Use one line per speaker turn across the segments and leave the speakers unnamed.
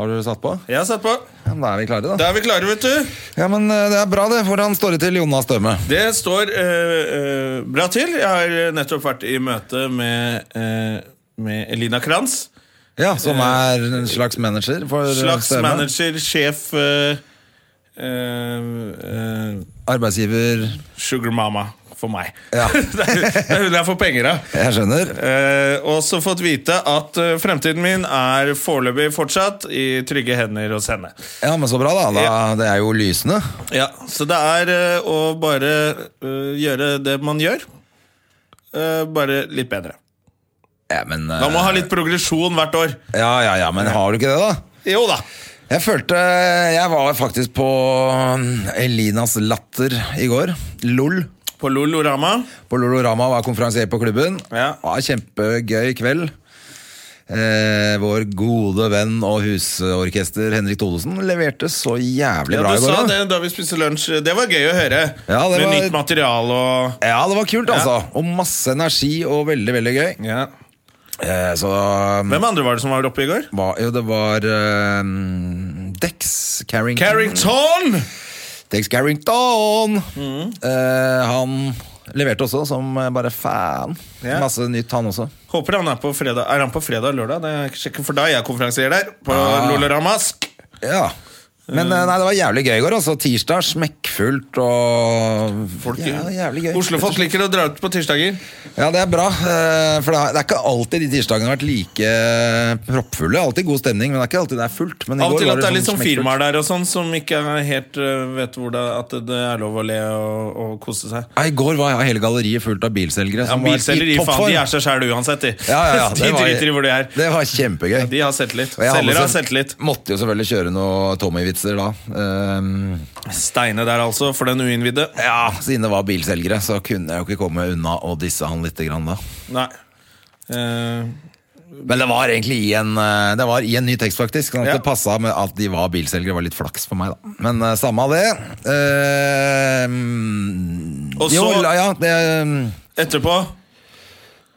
Har du satt på?
Jeg har sett på.
Ja, men da er vi klare, da.
Da er vi klare, vet du.
Ja, men eh, Det er bra, det. Hvordan står det til Jonas Døme?
Det står eh, eh, bra til. Jeg har nettopp vært i møte med, eh, med Elina Kranz.
Ja, Som er en slags manager for eh,
Slags
Støme.
manager, sjef eh, eh, eh,
Arbeidsgiver
Sugar mama for meg.
Ja.
det er det er hun jeg får penger av.
Jeg skjønner.
Eh, også fått vite at eh, fremtiden min er foreløpig fortsatt i trygge hender hos henne.
Ja, men så bra, da. da
Ja.
Det er jo lysende.
Ja, Så det er eh, å bare eh, gjøre det man gjør, eh, bare litt bedre.
Ja, men eh,
Man må ha litt progresjon hvert år.
Ja, ja, ja, men har du ikke det, da?
Jo da.
Jeg følte Jeg var faktisk på eh, Elinas Latter i går. LOL.
På Lolorama.
På Lolorama var konferansier på klubben.
Ja.
Det var kjempegøy kveld. Eh, vår gode venn og husorkester Henrik Thodesen leverte så jævlig
Ja,
bra
du
i går.
sa
da.
det da vi spiste lunsj. Det var gøy å høre.
Ja, det
Med
var-
nytt materiale og
Ja, det var kult, altså. Og masse energi og veldig, veldig gøy.
ja.
Eh, så
Hvem andre var det som var oppe i går?
var, Jo, det var eh, Dex Carrington.
Carrington!
Dex Carrington!
Mm.
Eh, han leverte også som bare fan.
Ja.
Masse nytt, han også.
Håper han er på fredag Er han på fredag og lørdag? Det er ikke sikkert, for da er jeg konferansierer der. På
Ah.
Loloramask.
Ja. Men eh, nei, det var jævlig gøy i går. altså Tirsdag smekkfullt og
Folk,
ja, jævlig gøy.
Oslofolk liker å dra ut på tirsdager.
Ja, det er bra. eh, For det er- det er ikke alltid de tirsdagene har vært like eh, proppfulle. Alltid god stemning, men det er ikke alltid det er fullt. Men i
Av
går
og til
var
at det er litt
sånn
sånn
smekkfullt.
firmaer der og sånn som ikke er helt øh, vet hvor det, at det er lov å le og, og kose seg.
Ja, I går var ja, hele galleriet fullt av bilselgere.
Ja,
som var
Bilselgere gir faen,
toppform.
de er seg sjæl uansett, de.
ja, ja, ja, det
de
var-
driter i hvor de er.
Det var kjempegøy.
De har selvtillit.
Og jeg hadde
Selgere har
selv-
selvtillit.
Måtte jo selvfølgelig kjøre noe Tommy-vitser da. Ehm,
Steine der, altså, for den uinnvidde.
ja, Siden det var bilselgere, så kunne jeg jo ikke komme unna å disse han lite grann da.
Nei. Eh,
Men det var egentlig i en, eh, det var i en ny tekst, faktisk. Sånn at
Ja.
det passa med at de var bilselgere. var litt flaks for meg, da. Men eh, samme av det. Eh,
Og
jo,
så-
la- ja, det mm,
etterpå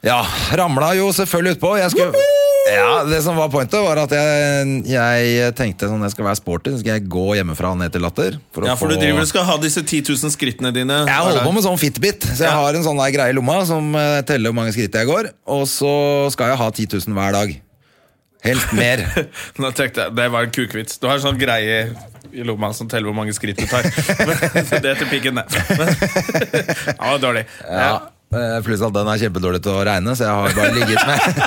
Ja, ramla jo selvfølgelig utpå. Jeg skulle ja, det som var pointet, var at jeg, jeg tenkte sånn, jeg skal være sporty. Så skal jeg gå hjemmefra og ned til Latter. å
Ja, for du
få-
driver og skal ha disse 10 000 skrittene dine.
Jeg holder på med sånn Fitbit, så jeg
Ja.
har en sånn der greie i lomma som eh, teller hvor mange skritt jeg går. Og så skal jeg ha 10 000 hver dag. Helt mer.
Nå tenkte jeg, Det var en kukvits. Du har en sånn greie i lomma som teller hvor mange skritt du tar. Men, det er til pikken, det. Men, ja, det var dårlig. Ja.
Ja. eh, Pluss at den er kjempedårlig til å regne, så jeg har bare ligget med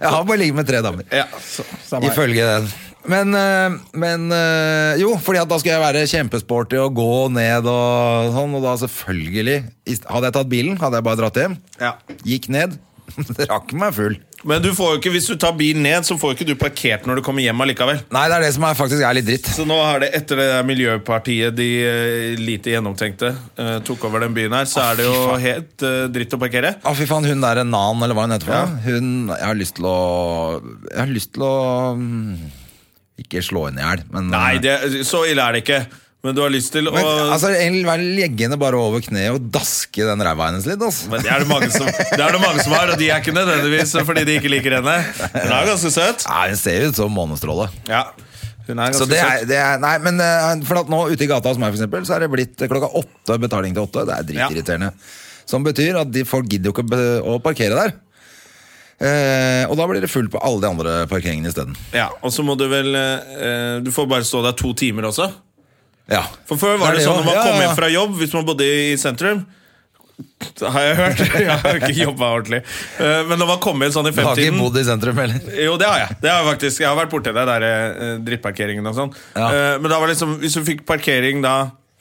Jeg har bare ligget med tre damer.
Ja, så, samme her.
Ifølge den. Men, eh, men eh, Jo, fordi at da skulle jeg være kjempesporty og gå ned og sånn, og da selvfølgelig i st- Hadde jeg tatt bilen, hadde jeg bare dratt hjem.
Ja.
Gikk ned. Rakk meg full.
Men du får jo ikke, hvis du tar bilen ned, så får jo ikke du parkert når du kommer hjem allikevel.
Nei, det er det som er, faktisk er litt dritt.
Så nå er det etter det der miljøpartiet de eh, lite gjennomtenkte eh, tok over den byen her, så er det jo helt eh, dritt å parkere.
Å, fy faen, hun der Nan, eller hva hun heter for
Ja.
noe, hun Jeg har lyst til å Jeg har lyst til å mm, Ikke slå henne i hjel, men
Nei,
eh,
det, så ille er det ikke. Men du har lyst til å
Men, altså, egentlig bare legge henne bare over kneet og daske den ræva hennes litt. Altså.
Men det er det, mange som, det er det mange som har, og de er ikke nødvendigvis fordi de ikke liker henne. Hun er jo ganske søt.
Nei, Hun ser jo ut som månestråle.
Ja, hun er
Så
ganske
det er,
søt.
det er, nei, men eh, for at nå Ute i gata hos meg for eksempel, så er det blitt klokka åtte betaling til åtte. Det er dritirriterende. Som betyr at de, folk gidder jo ikke be- å parkere der. Eh, og da blir det fullt på alle de andre parkeringene isteden.
Ja, og så må du vel eh, Du får bare stå der to timer også.
Ja.
For før var
Det er
det,
det
sånn
jo.
når man
Ja,
kom
ja, ja.
hjem fra jobb, hvis man bodde i sentrum det har jeg hørt. Jeg har ikke jobba ordentlig. Eh, Men når man kom hjem sånn i
Du har ikke
femtiden
bodd i sentrum heller?
Jo, det har jeg. Det har jeg faktisk Jeg har vært borti det der eh, drittparkeringen og sånn.
Ja.
Eh, Men da var det liksom hvis du fikk parkering da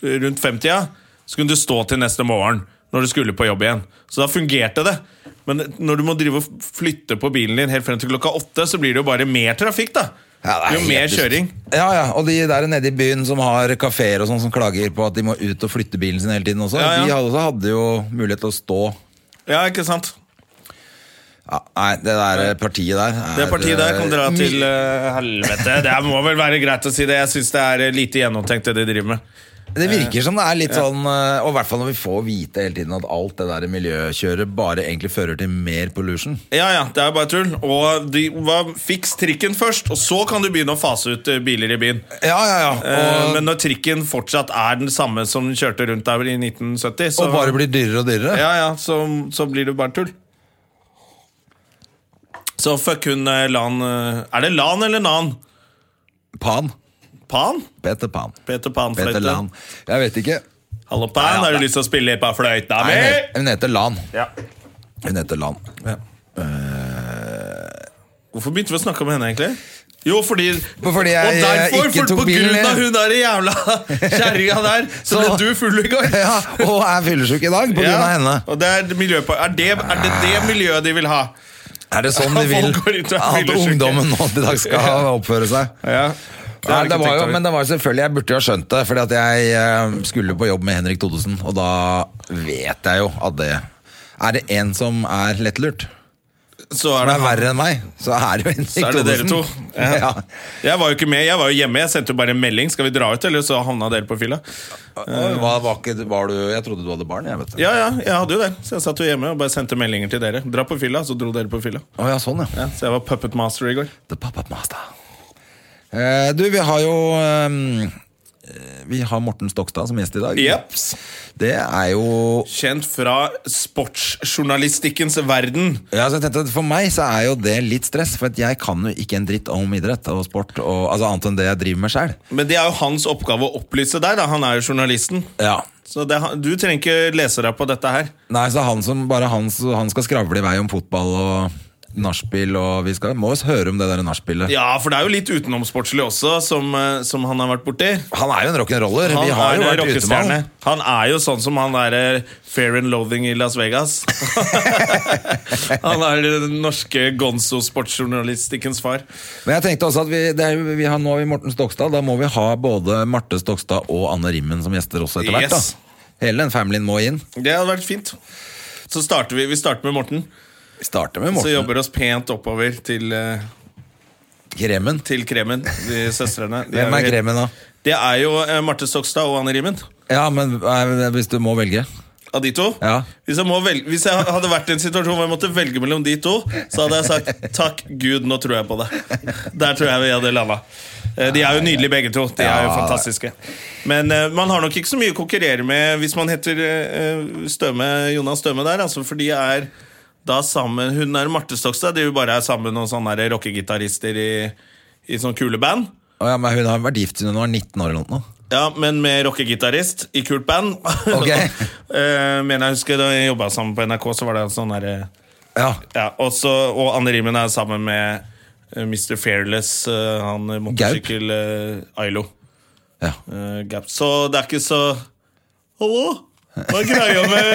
rundt 50-tida, så kunne du stå til neste morgen. når du skulle på jobb igjen. Så da fungerte det. Men når du må drive og flytte på bilen din helt frem til klokka åtte, så blir det jo bare mer trafikk, da.
Ja, det er
jo
helt
mer
dust.
kjøring.
Ja, ja, Og de der nede i byen som har kafeer og sånn, som klager på at de må ut og flytte bilen sin hele tiden også,
Ja, ja.
de hadde, også hadde jo mulighet til å stå.
Ja, ikke sant?
Ja, nei, det der partiet der er,
Det partiet der kan dra
eh,
til eh, helvete. Det må vel være greit å si det. Jeg syns det er eh, lite gjennomtenkt, det de driver med.
Det virker som det er litt sånn eh, Og i hvert fall når vi får vite hele tiden at alt det der miljøkjøret bare egentlig fører til mer pollution.
Ja, ja, det er bare tull. Og de, hva, Fiks trikken først, og så kan du begynne å fase ut eh, biler i byen.
Ja, ja, ja.
Eh,
Og,
Men når trikken fortsatt er den samme som den kjørte rundt der i 1970, så,
og bare blir dyrere og dyrere.
ja, ja, så, så blir det bare tull. Så fuck hun eh, Lan eh, Er det Lan eller Nan?
Pan.
Pan?
Peter Pan.
Peter Pan
Peter
fløyte.
Lan. Jeg vet ikke.
Hallo, Pan,
Ja,
har
det-
du lyst til å spille på fløyta
Nei,
mi?
hun het- hun heter Lan.
Ja.
Hun heter Lan. Eh,
Hvorfor begynte vi å snakke om henne, egentlig? Jo, fordi
Fordi jeg,
Og derfor,
eh, ikke
for
tok
på
bilen
grunn av
ned.
hun der jævla kjerringa der, så
Så-
ble du full i går.
Ja, og er fyllesyk i dag på grunn av henne.
Og det er, miljøpa- er, det, er det det miljøet de vil ha?
Er det sånn de
Folk
vil
går ut og er
at
fyllesyke.
ungdommen nå til dag skal oppføre seg?
Ja.
Nei, det var jo, men det var jo selvfølgelig, jeg burde jo ha skjønt det, fordi at jeg eh, skulle på jobb med Henrik Thodesen, og da vet jeg jo at det Er det en som er lettlurt,
så er
som
det
er verre enn meg, så er det jo Henrik
Så er det dere
Thodesen.
to.
Ja.
Ja. Jeg var jo ikke med, jeg var jo hjemme. Jeg sendte jo bare en melding. Skal vi dra ut, eller så havna dere på fylla?
Og Hva var ikke, var du, jeg trodde du hadde barn, jeg, vet du.
Ja, ja, jeg hadde jo det. Så jeg satt jo hjemme og bare sendte meldinger til dere. Dra på fylla, så dro dere på fylla.
Å ja, sånn, ja.
Ja, så jeg var puppet master i går.
The pop-up master. Eh, du, vi har jo eh, Vi har Morten Stokstad som gjest i dag.
Jeps.
Det er jo
Kjent fra sportsjournalistikkens verden.
Ja, så jeg tenkte at For meg så er jo det litt stress, for at jeg kan jo ikke en dritt om idrett og sport. Og, altså Annet enn det jeg driver med sjøl.
Men det er jo hans oppgave å opplyse deg. da, Han er jo journalisten.
Ja.
Så det, er han- du trenger ikke lese deg på dette her.
Nei, så han som bare han, så han skal skravle i vei om fotball og nachspiel, og vi skal må jo høre om det der nachspielet.
Ja, for det er jo litt utenomsportslig også, som, eh, som han har vært borti.
Han er jo en rock'n'roller.
Han
Vi har
er
jo
en
vært ute med
rockestjerne.
han.
Han er jo sånn som han derre Fair and Loathing i Las Vegas. han er den norske gonzo-sportsjournalistikkens far.
Men jeg tenkte også at vi, det er, jo- vi har, nå har vi Morten Stokstad. Da må vi ha både Marte Stokstad og Anne Rimmen som gjester også etter hvert.
Yes.
da. Hele den familien må inn.
Det hadde vært fint. Så starter vi, vi starter med Morten,
Vi starter med
så
Morten
jobber oss pent oppover til, eh,
Kremen.
til Kremen, de søstrene. De
Hvem er
jo-
Kremen, da?
Det er jo eh, Marte Stokstad og Anne Rimmen.
Ja, men eh, hvis du må velge.
Av de to?
Ja.
Hvis, jeg må vel- hvis jeg hadde vært i en situasjon hvor jeg måtte velge mellom de to, så hadde jeg sagt takk Gud, nå tror jeg på det. Der tror jeg vi hadde landa. Eh, De er jo nydelige begge to. De er jo
Ja.
fantastiske. Men eh, man har nok ikke så mye å konkurrere med hvis man heter eh, Støme, Jonas Støme der, altså, for de er da sammen Hun er Marte Stokstad, de jo bare er sammen med noen sånne der rockegitarister i, i sånn kule band.
Å ja, men Hun har vært gift siden hun var 19 år. eller noe nå.
Ja, men med rockegitarist i kult band.
Ok.
Eh, men jeg husker da jeg jobba sammen på NRK, så var det en sånn derre
Ja,
ja, også, Og Anne Rimmen er sammen med eh, Mr. Fearless, eh, han eh, motorsykkel eh, Ailo.
ja.
eh, Gaup. Så det er ikke så Hallo? Hva er greia med,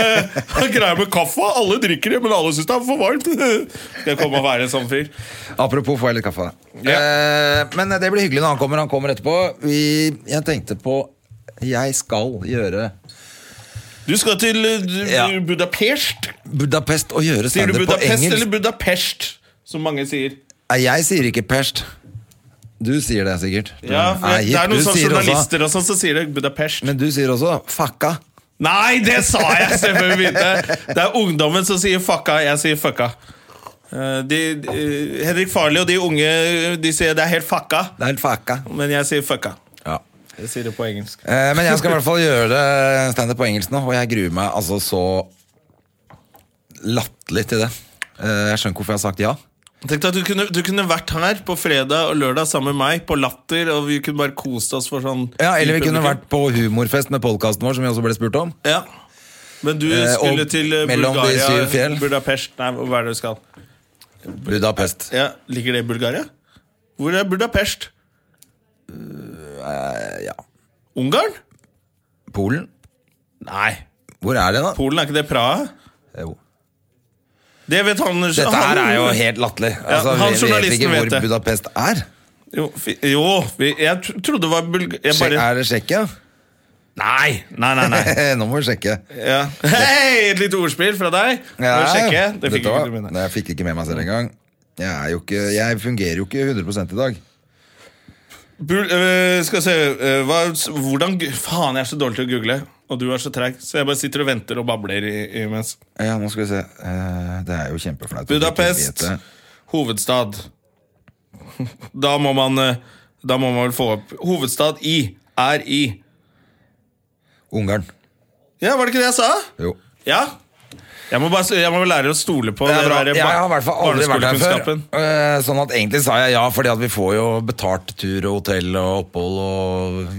hva er greia med kaffe? Alle drikker det, men alle syns det er for varmt. Skal jeg komme og være en sånn fyr?
Apropos, får jeg litt kaffe? da?
Ja.
Eh, men det blir hyggelig når han kommer. Han kommer etterpå. Vi, jeg tenkte på Jeg skal gjøre
Du skal til eh, du-
Ja.
Budapest.
Budapest og gjøre
Sier du
standup på
Budapest
engelsk.
eller Budapest, som mange sier?
Nei, Jeg sier ikke Pest. Du sier det sikkert.
Ja, for
Nei,
det
Mm. Ah,
er noen
du
sånne
sier også-
journalister og sånn som sier det Budapest.
Men du sier også fucka.
Nei, det sa jeg selvfølgelig begynte! Det er ungdommen som sier fucka, jeg sier fucka. Eh, De, eh, Henrik Farley og de unge De sier det er helt fucka,
Det er helt fucka.
men jeg sier fucka.
Ja.
Jeg sier det på engelsk.
Eh, men jeg skal i hvert fall gjøre standup på engelsk nå, og jeg gruer meg altså så latterlig til det. Eh, jeg skjønner ikke hvorfor jeg har sagt ja.
Tenk deg at du kunne, du kunne vært her på fredag og lørdag sammen med meg, på Latter, og vi kunne bare kost oss for sånn
Ja, Eller vi kunne
publikum.
vært på humorfest med podkasten vår, som vi også ble spurt om.
Ja. Men du
Eh, og
skulle til eh,
mellom de syv
Bulgaria,
fjell.
Budapest Nei, hva er det du skal?
Budapest.
Ja, Ligger det i Bulgaria? Hvor er Budapest?
Ja. Eh,
Ungarn?
Polen?
Nei.
Hvor er det, da?
Polen, er ikke det Praha?
Jo.
Det vet han
Dette
han-
her er jo helt latterlig.
Ja,
Altså,
han
vi vet
journalisten
ikke
vet
hvor
det.
Budapest er.
Jo, fi- jo vi- jeg tr- trodde det var Bulg... Jeg
Sjek-
bare
Er det Tsjekkia?
Nei! Nei, nei, nei.
Nå må vi sjekke.
Ja. Hei, et lite ordspill fra deg. Ja.
Ja,
Sjekke. Det fikk
dette
ikke
var-
du med deg.
Nei, jeg fikk ikke med meg selv engang. Jeg, er jo ikke, jeg fungerer jo ikke 100 i dag.
Bul øh, skal vi se øh, hva, Hvordan gu- Faen, jeg er så dårlig til å google, og du er så treig, så jeg bare sitter og venter og babler i, imens.
Ja, nå skal vi se. Eh, Det er jo kjempeflaut. at vi ikke
Budapest,
vet det.
hovedstad. Da må man øh, Da må man vel få opp Hovedstad i er i.
Ungarn.
Ja, var det ikke det jeg sa?
Jo.
Ja. Jeg må, bare, s- jeg må vel lære å stole på
Det er bra.
der
Jeg
bar-
har i hvert fall aldri vært her før.
barneskolekunnskapen.
Eh, Sånn at egentlig sa jeg ja, fordi at vi får jo betalt tur og hotell og opphold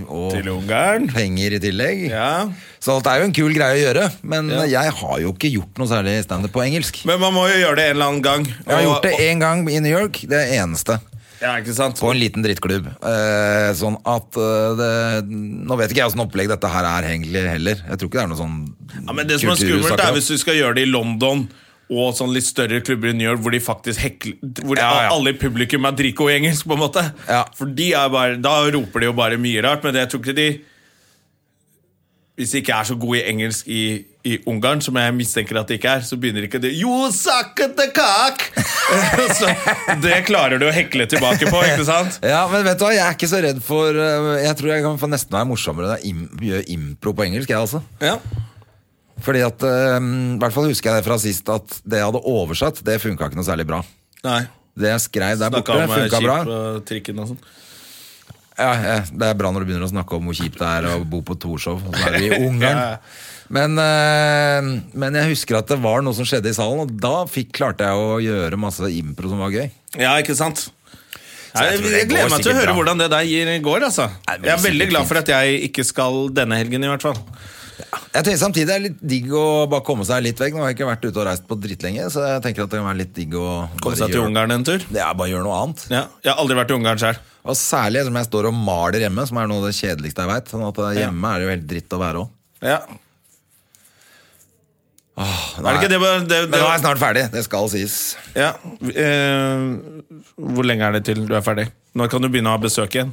og,
Til
og
Ungarn.
penger i tillegg.
Ja.
Så det er jo en kul greie å gjøre, men
Ja.
jeg har jo ikke gjort noe særlig standup på engelsk.
Men man må jo gjøre det en eller annen gang.
Jeg har gjort det
Og-
én gang i New York, det er eneste.
Ja, ikke sant?
På en liten drittklubb. Eh, sånn at eh, det, Nå vet ikke jeg åssen opplegg dette her er egentlig heller. Jeg tror ikke det er noe sånn
Ja, men det som er
kultur vi
skummelt,
snakker
er
om.
hvis du skal gjøre det i London og sånn litt større klubber i New York hvor de faktisk hekler Hvor
Ja, ja.
alle i publikum er dritgode i engelsk, på en måte.
Ja.
For de er bare, da roper de jo bare mye rart, men jeg tror ikke de Hvis de ikke er så gode i engelsk i, i Ungarn, som jeg mistenker at de ikke er, så begynner ikke de You suck at the cock! så det klarer du å hekle tilbake på, ikke sant?
Ja, men vet du hva, jeg er ikke så redd for eh, Jeg tror jeg kan få nesten være morsommere når jeg im gjør impro på engelsk, jeg altså.
Ja.
Fordi at, eh, i hvert fall husker jeg det fra sist, at det jeg hadde oversatt, det funka ikke noe særlig bra.
Nei.
Det jeg skrev der
Snakka
borte,
om eh,
funka
skip
bra.
og trikken og sånn.
Ja, ja, det er bra når du begynner å snakke om hvor kjipt det er å bo på Torshov. og Så er vi i
Ja.
Ungarn. Men, eh, men jeg husker at det var noe som skjedde i salen, og da fikk, klarte jeg å gjøre masse impro som var gøy.
Ja, ikke sant?
jeg
Jeg,
tror det
jeg
går
gleder meg til å
sikkert
høre
bra.
hvordan det der gir- går. altså
Nei, det blir
Jeg er veldig
sikkert
glad for at jeg ikke skal denne helgen, i hvert fall.
Jeg tenker Samtidig er det litt digg å bare komme seg litt vekk. Nå har jeg ikke vært ute og reist på drittlenge, så jeg tenker at det kan være litt digg å bare
Komme seg til
gjøre-
Ungarn en tur.
Ja, bare gjøre noe annet.
Ja, jeg har aldri vært i Ungarn sjøl.
Og særlig som jeg står og maler hjemme, som er noe av det kjedeligste jeg veit. Sånn at eh,
Ja.
hjemme er det jo helt dritt å være òg.
Ja. Er det ikke det, bare- det,
Men
det
nå er jeg snart ferdig. Det skal sies.
ja. eh, Hvor lenge er det til du er ferdig? Når kan du begynne å ha besøk igjen?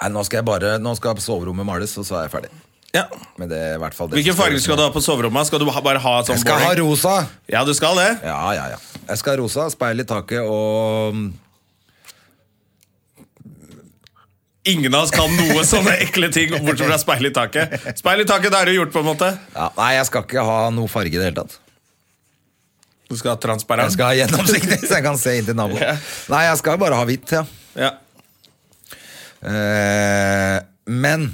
Nei, nå skal jeg bare Nå skal soverommet males, og så er jeg farlig.
Ja
Men det er i hvert fall det
Hvilken farge skal du ha på soverommet? Skal du ha- bare ha sånn
Jeg skal ha
boring?
rosa!
Ja, du skal det?
Ja, ja, ja. Jeg skal ha rosa, speil i taket og
Ingen av oss kan noe sånne ekle ting bortsett fra speil i taket. Speil i taket, da er det gjort, på en måte.
ja, Nei, jeg skal ikke ha noe farge i det hele tatt.
Du skal ha transparent.
Jeg skal ha gjennomsiktig, så jeg kan se inn til naboen. Nei, jeg skal bare ha hvitt, ja.
Ja.
Eh, men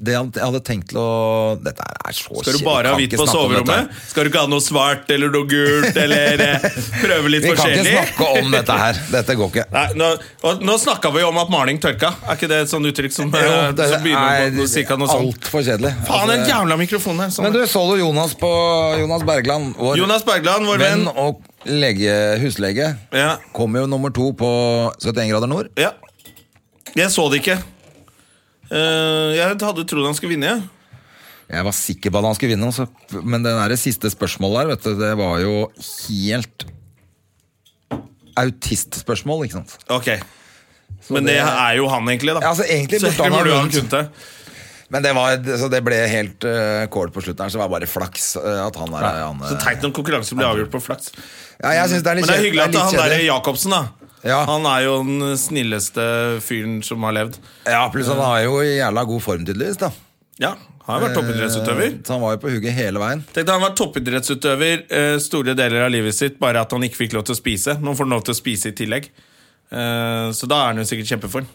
det jeg hadde tenkt til å Dette her er så
Skal du
kjedelig,
bare
kan
ha
ikke
hvitt på
snakke om dette her.
soverommet? Skal du ikke ha noe svart eller noe gult, eller eh, prøve litt
Vi kan
forskjellig?
ikke snakke om dette her. Dette går ikke.
Nei, nå, og nå snakka vi jo om at maling tørka. Er ikke det et sånt uttrykk som, eh,
Jo, det
som begynner på cirka noe sånt?
altfor kjedelig.
Faen, den
Altså,
jævla mikrofonen her.
men
Sånn.
du, så du Jonas på Jonas Bergland? Vår
Jonas Bergland, vår venn.
venn og lege, huslege.
Ja.
Kom jo nummer to på 71 grader nord.
ja. Jeg så det ikke. Eh, jeg hadde trodd han skulle vinne. jeg.
Jeg var sikker på at han skulle vinne, altså. men det der siste spørsmålet der, vet du, det var jo helt Autistspørsmål, ikke sant.
Ok. Men det
det-
er jo han, egentlig. da
Ja, altså, egentlig
Så
burde han ha
burde jo han
vunnet.
kunnet det.
Men det, var, så det ble helt eh, kål på slutten her, så det var bare flaks eh, at han der han, eh,
Så teit når konkurransen blir avgjort på flaks.
Ja, jeg synes det er litt
Men det er
kjedelig-
hyggelig at
det er
han
litt
der
kjedelig.
Jacobsen, da.
Ja.
Han er jo den snilleste fyren som har levd.
Ja, pluss han har jo i jævla god form, tydeligvis. da Eh,
Ja, han har vært toppidrettsutøver.
Så han var jo på hugget hele veien.
Tenk deg, han var toppidrettsutøver eh, store deler av livet sitt, bare at han ikke fikk lov til å spise. Nå får han lov til å spise i tillegg. Eh, så da er han jo sikkert kjempeform.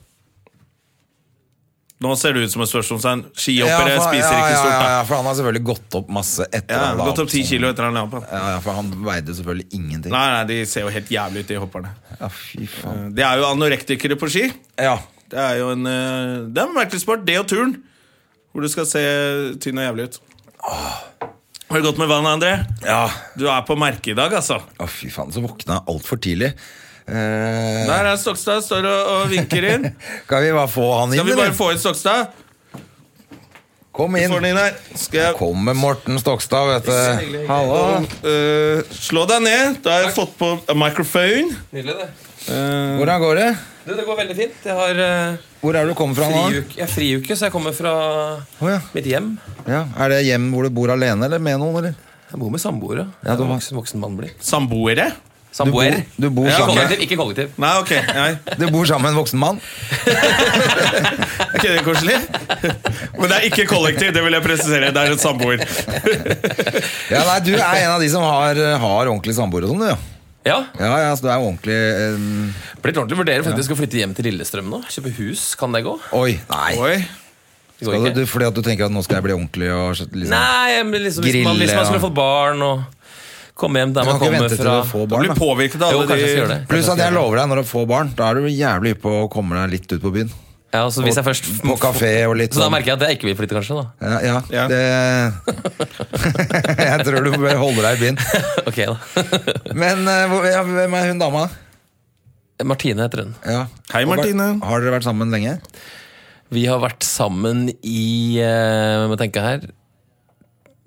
Nå ser det ut som et spørsmålstegn. Skihoppere
for,
eh, spiser
ja,
ikke
ja,
stort, da.
ja, for han har selvfølgelig gått opp masse etter
Ja,
han la
Gått opp ti
sånn.
kilo etter han la opp. da.
Ja, ja, for han veide selvfølgelig ingenting.
Nei, nei, de ser jo helt jævlig ut, de hopperne.
Ja, fy faen.
Eh, De er jo anorektikere på ski.
Eh, Ja.
Det er jo en eh, Det er en merkelig sport. Det og turn. Hvor du skal se tynn og jævlig ut. Har det gått med vann, André?
ja.
Du er på merket i dag, altså.
Å, fy faen, så våkna jeg altfor tidlig. Eh,
Der er Stokstad. Står og, og vinker inn.
Skal vi bare få han inn,
Skal vi bare få inn Stokstad?
Kom inn.
Får den inn her. Skal jeg
Kommer Morten Stokstad, vet du. Hallo.
Eh, slå deg ned. Da har jeg fått på microphone.
Nydelig, det.
Eh,
Hvordan går det?
Du, det går veldig fint. Jeg har eh,
Hvor er det du kommer fra nå?
friuke, jeg har friuke, så jeg kommer fra
Å, ja.
mitt hjem.
Ja. Er det hjem hvor du bor alene, eller med noen? eller?
Jeg bor med samboere.
Ja,
Jeg
du
er
må-
voksen, voksen mann blir.
Samboere?
Samboer.
Du bor
Ja,
sammen
kollektiv, ikke kollektiv.
Nei, ok. Nei.
Du bor sammen med en voksen mann?
Er ikke det koselig? Men det er ikke kollektiv, det vil jeg presisere. Det er en samboer.
Ja, nei, Du er en av de som har, har ordentlig samboer og sånn, du. Ja.
Ja,
Ja, ja, så du er jo ordentlig eh,
Blitt ordentlig vurderer faktisk å flytte hjem til Lillestrøm nå. Kjøpe hus, kan det gå?
Oi, nei.
Oi.
Det
Skal
går
du, du,
ikke.
fordi at du tenker at nå skal jeg bli ordentlig og så- liksom
Nei, men liksom, hvis, man, hvis
Grille,
man skulle
ja.
fått barn og komme hjem der
Du kan
man
ikke
kommer
vente til
fra
du får
Du
barn.
blir
Da.
påvirket av
Jo,
alle
kanskje jeg skal gjøre
de
det.
Pluss at jeg lover deg, når du får barn, da er du jævlig hypp på å komme deg litt ut på byen.
Ja, så hvis jeg først
På kafé og litt
Så da
sånn.
merker jeg at jeg ikke vil flytte, kanskje. da
Ja, ja,
Ja.
Det, jeg tror du bør holde deg i byen.
Ok da
Men eh, hvor- ja, hvem er hun dama?
Martine heter hun.
Ja.
Hei,
Og vært-
Martine.
Har dere vært sammen lenge?
Vi har vært sammen i eh, Jeg må tenke her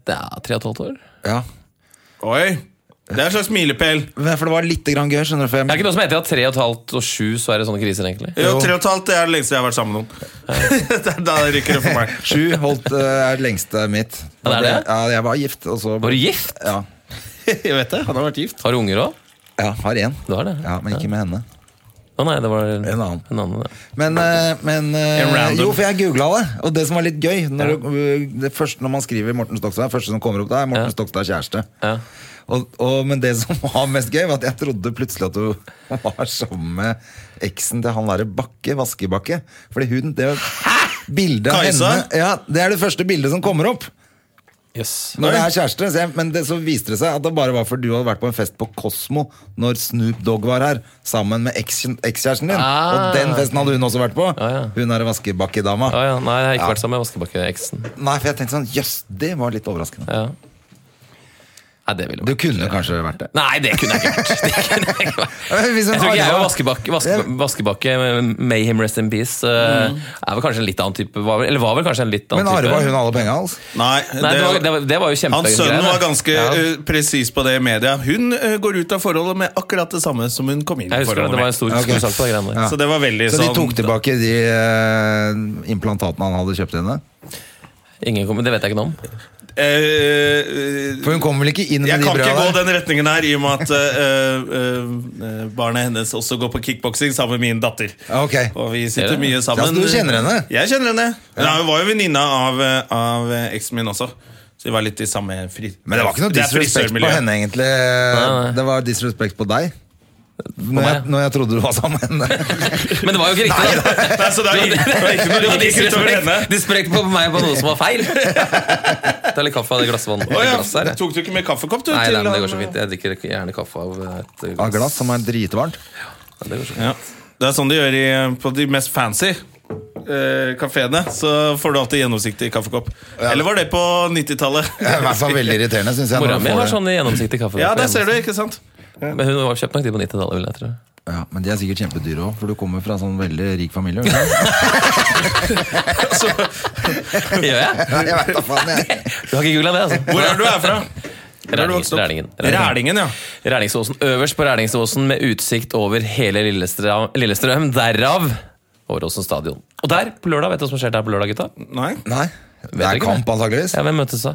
Det er tre og et halvt år.
Ja.
Oi. Det er en slags milepæl.
Men For det var litt grann gøy, skjønner du. For
Det er
jeg,
ikke noe som heter at tre og et halvt og sju, så er det sånne kriser, egentlig.
Jo, tre og et halvt det er det lengste jeg har vært sammen med noen. Det er Da rykker det for meg.
sju holdt eh, er det lengste mitt.
Ja, det er det?
Ja, jeg var gift, og så
Var du gift?
Ja.
Jeg vet det, Han har vært gift.
Har du unger òg?
ja har én.
Du har det?
Ja, men ikke med henne.
Å nei, det var en
annen.
ja.
Men, eh, men eh,
En random.
Jo, for jeg googla det, og det som var litt gøy Når, du- eh, det første, når man skriver Morten Stokstad, det første som kommer opp, det er Morten
Ja.
Stokstad kjæreste.
Ja.
Og, og, men det som var mest gøy, var at jeg trodde plutselig at du var sammen med eksen til han derre Bakke, Vaskebakke. Fordi hun det Bildet av
Kajsa?
henne ja, Det er det første bildet som kommer opp
Jøss.
når det er kjæreste. Så jeg, men det, så viste det seg at det bare var fordi du hadde vært på en fest på Kosmo når Snoop Dogg var her, sammen med eks- ekskjæresten din.
Ah.
Og den festen hadde hun også vært på.
Ja, Ah. ja.
Hun er Vaskebakke-dama.
Å ja. Nei, jeg har ikke
Ja.
vært sammen med Vaskebakke-eksen.
Nei, for jeg tenkte sånn Jøss, det var litt overraskende.
Ja. Nei, det ville
Du
vært
kunne kanskje vært det.
Nei, det kunne jeg ikke gjort. Det kunne jeg ikke vært.
Eh,
Jeg tror ikke jeg og Vaskebakke, Vaske, Vaskebakke eh, Mayhem Rest in Peace, eh, er vel kanskje en litt annen type var vel, Eller var vel kanskje en litt annen
Men arva
type.
hun alle penga hans?
Nei,
Nei, det, var, det, var, det var jo
Hans sønn
kjempegreier.
var ganske
ja.
eh, presis på det i media. Hun eh, går ut av forholdet med akkurat det samme som hun kom inn i
Jeg husker det,
forholdet
det var en
med.
stor
Ja, ok.
stor sak på de greiene der.
Ja.
Så det var veldig
Så de
sånn
tok tilbake de eh, implantatene han hadde kjøpt henne?
Ingen kom, det vet jeg ikke noe om.
eh, eh,
For hun kom vel ikke inn med
Jeg
de
kan ikke
brøda
gå
der?
den retningen her, i og med at eh, eh, eh, barnet hennes også går på kickboksing sammen med min datter.
Ok.
Og vi
Er
sitter
det?
mye sammen.
Ja, så du kjenner henne?
Jeg kjenner henne. Nei, hun var jo venninna av, eh, av eh, eksen min også. Så vi var litt i samme fri...
Men det var ikke noe
er
disrespekt på
frisørmiljø.
henne, egentlig.
nei.
Det var disrespekt på deg. Når
meg,
jeg, når jeg trodde du var sammen med henne.
Men det var jo ikke riktig. da.
Nei, så det er ikke, det er ikke noe likhet utover henne.
Disrespekt på meg på noe som var feil. Ta litt kaffe av det glassvann.
Å ja,
glass her, jeg.
Tok du ikke med kaffekopp, du?
Nei,
til
nei, men det
han-
går så fint. Jeg drikker ikke gjerne kaffe av et glass.
Av glass som er dritvarmt.
Ja, det går så fint.
Ja. Det er sånn de gjør i, på de mest fancy eh, kafeene. Så får du alltid gjennomsiktig kaffekopp. Eller var det på 90-tallet?
Det er i hvert fall veldig irriterende, syns jeg. når
Mora
du
mi
får
har
det.
sånn gjennomsiktig kaffe.
Ja, der ser du, ikke sant?
Men hun var kjøpt nok de på 90-tallet, vil jeg tro.
Ja, men de er sikkert kjempedyre òg, for du kommer fra en sånn veldig rik familie. ikke sant?
Så,
Gjør jeg?
Nei, jeg vet da faen, jeg.
Du har ikke googla det, altså?
hvor er du herfra? Hvor er du
Rælingen,
vokst opp?
Rælingen, Rælingen.
Rælingen, ja.
Rælingsåsen. Øverst på Rælingsåsen med utsikt over hele Lillestrøm, Lillestrøm derav Åråsen stadion. Og der, på lørdag, vet du hva som skjer der på lørdag, gutta?
Nei.
Nei, det
ikke
er kamp,
det.
antakeligvis.
Ja, Hvem møtes da?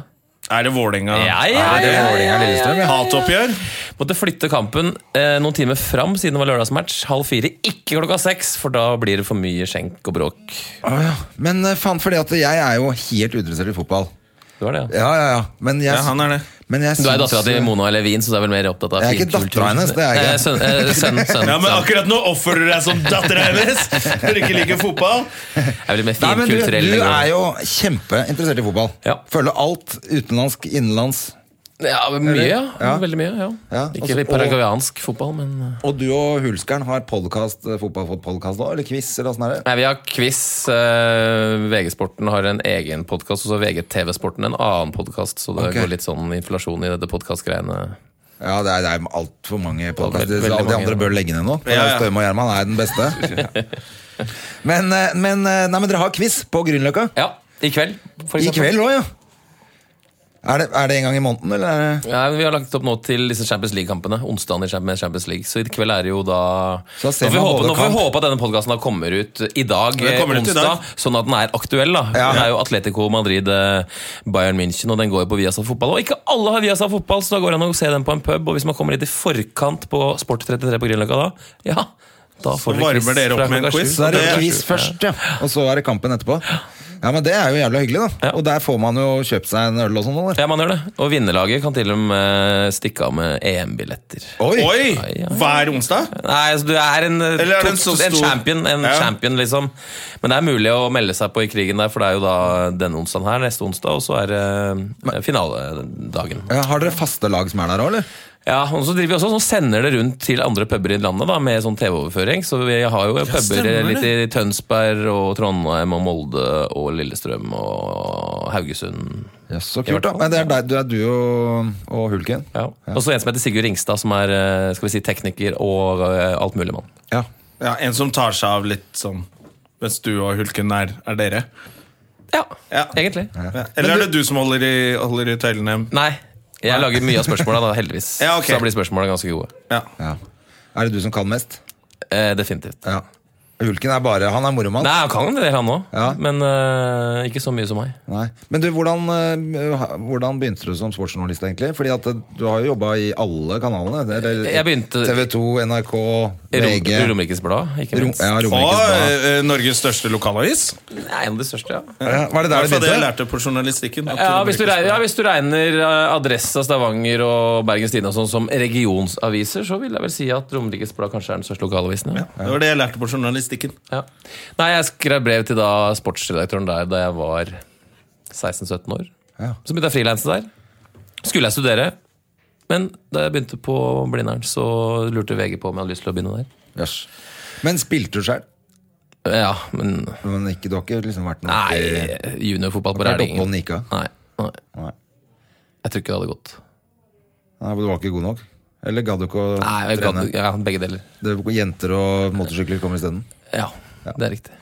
Er det Vålerenga?
Ja, ja,
Er det
ja,
Vålerenga Lillestrøm? ja? Hatoppgjør?
Måtte flytte kampen eh, noen timer fram siden det var lørdagsmatch. Halv fire, ikke klokka seks, for da blir det for mye skjenk og bråk.
Å, ja. Men eh, faen, fordi at jeg er jo helt uinteressert i fotball.
Du er det, ja.
Ja, ja, ja. Men jeg,
Ja, han er det.
Men jeg
Du er
syns-
dattera til Mona Levin, så du er vel mer opptatt av
Jeg er ikke
finkultur.
datteren hennes, det er jeg ikke.
Eh, Sønn, eh, sønn, sønn,
Ja, men
sønn.
akkurat nå oppfører du deg som dattera hennes! Når du ikke liker fotball.
Jeg er vel mer
Nei, men du,
finkulturell.
du
enn-
er jo kjempeinteressert i fotball.
Ja.
Følger alt utenlandsk, innenlands.
Ja, mye, ja.
Ja.
Veldig mye, ja.
Ja,
Ikke
altså, og-
paraguayansk fotball, men eh.
Og du og Hulskeren har podcast, eh, fotball fått podcast da, eller quiz, eller åssen er det?
Nei, Vi har quiz. eh, VG-sporten har en egen podkast, og så VGTV-sporten en annen podkast. Så det
Ok.
går litt sånn inflasjon i dette podkastgreiene.
Ja, det er, det er altfor mange podcaster.
Veldig- veldig
så alle de
mange,
andre
ja.
bør legge ned nå. For
Ja, ja.
Støme og Gjerman er den beste. men, eh, men, eh, nei, men dere har quiz på Grünerløkka.
Ja. I kveld, for
I
eksempel.
kveld òg, ja. Er det, er det en gang i måneden, eller? Er det?
Ja, vi har lagt opp nå til disse Champions League-kampene. Onsdagen i Champ- med Champions League. Så i kveld er det jo da
Så
Nå
da
får
ser
vi
man
håpe, nå
både
får vi
kamp.
håpe at denne podkasten kommer ut i dag,
Den kommer
eh,
ut i
onsdag,
dag.
sånn at den er aktuell. da
Ja.
Det er jo Atletico Madrid, eh, Bayern München, og den går jo på Viasat Fotball. Og ikke alle har Viasat Fotball, så da går det an å se den på en pub. Og hvis man kommer litt i forkant på Sport33 på Grünerløkka da, ja, da får
Så
dere
varmer dere opp
fra
med en
klokka
quiz.
sju.
Så er det
Det er
quiz
sjukt,
først, ja. Og så er det kampen etterpå. Ja, men Det er jo jævla hyggelig, da.
Ja.
Og der får man jo kjøpt seg en øl og sånn. eller?
Ja, man gjør det. Og vinnerlaget kan til og med stikke av med EM-billetter.
Oi!
Oi!
Ai, ai.
Hver onsdag?
Nei, altså, du er en, eh,
Eller er det en
to-
så stor-
champion, en
Ja.
champion, liksom. Men det er mulig å melde seg på i krigen der, for det er jo da denne onsdagen her, neste onsdag, og så er det eh, finaledagen.
Ja, Har dere faste lag som er der òg, eller?
Ja, og så driver vi også sånn sender det rundt til andre puber i landet da, med sånn TV-overføring. Så vi har jo puber
stemmer
litt i Tønsberg og Trondheim og Molde og Lillestrøm og Haugesund.
Yes, så kult, da. Men det er deg, du er du og, og Hulken?
Ja. Og så en som heter Sigurd Ringstad, som er eh, skal vi si, tekniker og eh, altmuligmann.
Ja.
Ja, En som tar seg av litt sånn Mens du og Hulken er, er dere.
Ja,
Ja.
egentlig.
Ja. Eller er det du som holder i, holder i tøylene?
Nei. Jeg lager mye av spørsmåla, da, heldigvis.
Ja, ok.
Så da blir spørsmåla ganske gode.
Ja.
ja. Er det du som kan mest?
Eh, definitivt.
Ja. Hulken er bare Han er moromann.
Nei, han kan en del, han òg,
Ja.
men eh, ikke så mye som meg.
Nei. Men du, hvordan, eh, hvordan begynte du som sportsjournalist, egentlig? Fordi at eh, du har jo jobba i alle kanalene. Eller
Jeg begynte-
TV 2, NRK,
Rom-
VG Rom,
Romerikes Blad, ikke minst.
ja,
Og
Romerikes Blad.
eh, Norges største lokalavis.
Det er en av de største, ja.
Ja, Var det
Det
der
er
du
det jeg
begynte?
lærte på journalistikken. at
Ja, hvis du
Romerikes
regner, ja,
Blad-
hvis du regner eh, Adressa, Stavanger og Bergens Tidende og sånn som regionsaviser, så vil jeg vel si at Romerikes Blad kanskje er den største lokalavisen. Ja.
Det var det jeg lærte på journalistikken.
Ja. Nei, jeg skrev brev til da sportsredaktøren der da jeg var 16-17 år.
Ja.
Så begynte jeg å frilanse der. Skulle jeg studere, men da jeg begynte på Blindern, så lurte VG på om jeg hadde lyst til å begynne der.
Jøss. Men spilte du sjøl?
Ja, men
Men ikke, du har ikke liksom vært noe
Nei, juniorfotball på
Vært oppe og
Rælingen.
nika?
Nei, nei.
Nei.
Jeg tror ikke det hadde gått.
Nei, men Du var ikke god nok? Eller gadd du ikke å
Nei, jeg gadd,
trene?
ja, Begge deler.
Det er Jenter og motorsykler kommer isteden?
Ja, det er riktig.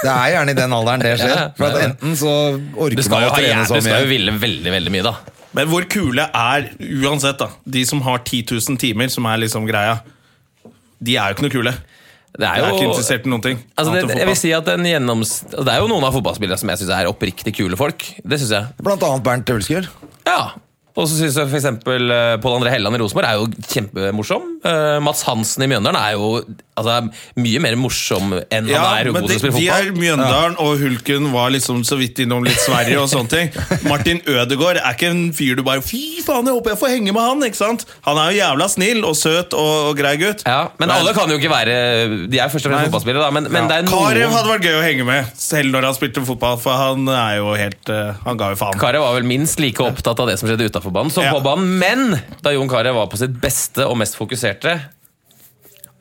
Det er gjerne i den alderen det skjer.
Ja,
For at
ja, ja.
Enten så
Du
orker
skal
man
jo,
å
ha,
trene
jæ-
så
du skal jo
mye.
ville veldig veldig mye, da.
Men hvor kule er uansett da de som har 10 000 timer, som er liksom greia? De er jo ikke noe kule.
Det
Jeg
er
er ikke
jo
interessert i noen ting.
Altså,
annet enn
det, jeg
fotball.
vil si at en gjennoms... altså, Det er jo noen av fotballspillerne som jeg syns er oppriktig kule folk. Det synes jeg.
Blant annet Bernt Ulsker.
Ja. Og så syns jeg f.eks. Pål André Helland i Rosenborg er jo kjempemorsom. Eh, Mats Hansen i Mjøndalen er jo altså, mye mer morsom enn
ja,
han er god
men
til
de,
å spille
de er
fotball.
Mjøndalen, og Hulken var liksom så vidt innom litt Sverige og sånne ting. Martin Ødegaard er ikke en fyr du bare Fy faen, jeg håper jeg får henge med han! ikke sant? Han er jo jævla snill og søt og, og grei gutt.
Ja, men alle kan jo ikke være De er først og fremst fotballspillere, da. Men, men det er
Karev hadde
noen
vært gøy å henge med, selv når han spilte fotball, for han er jo helt eh, Han ga jo faen.
Karev var vel minst like opptatt av det som skjedde utafor banen, som
Ja.
på banen. Men da Jon Carew var på sitt beste og mest fokuserte,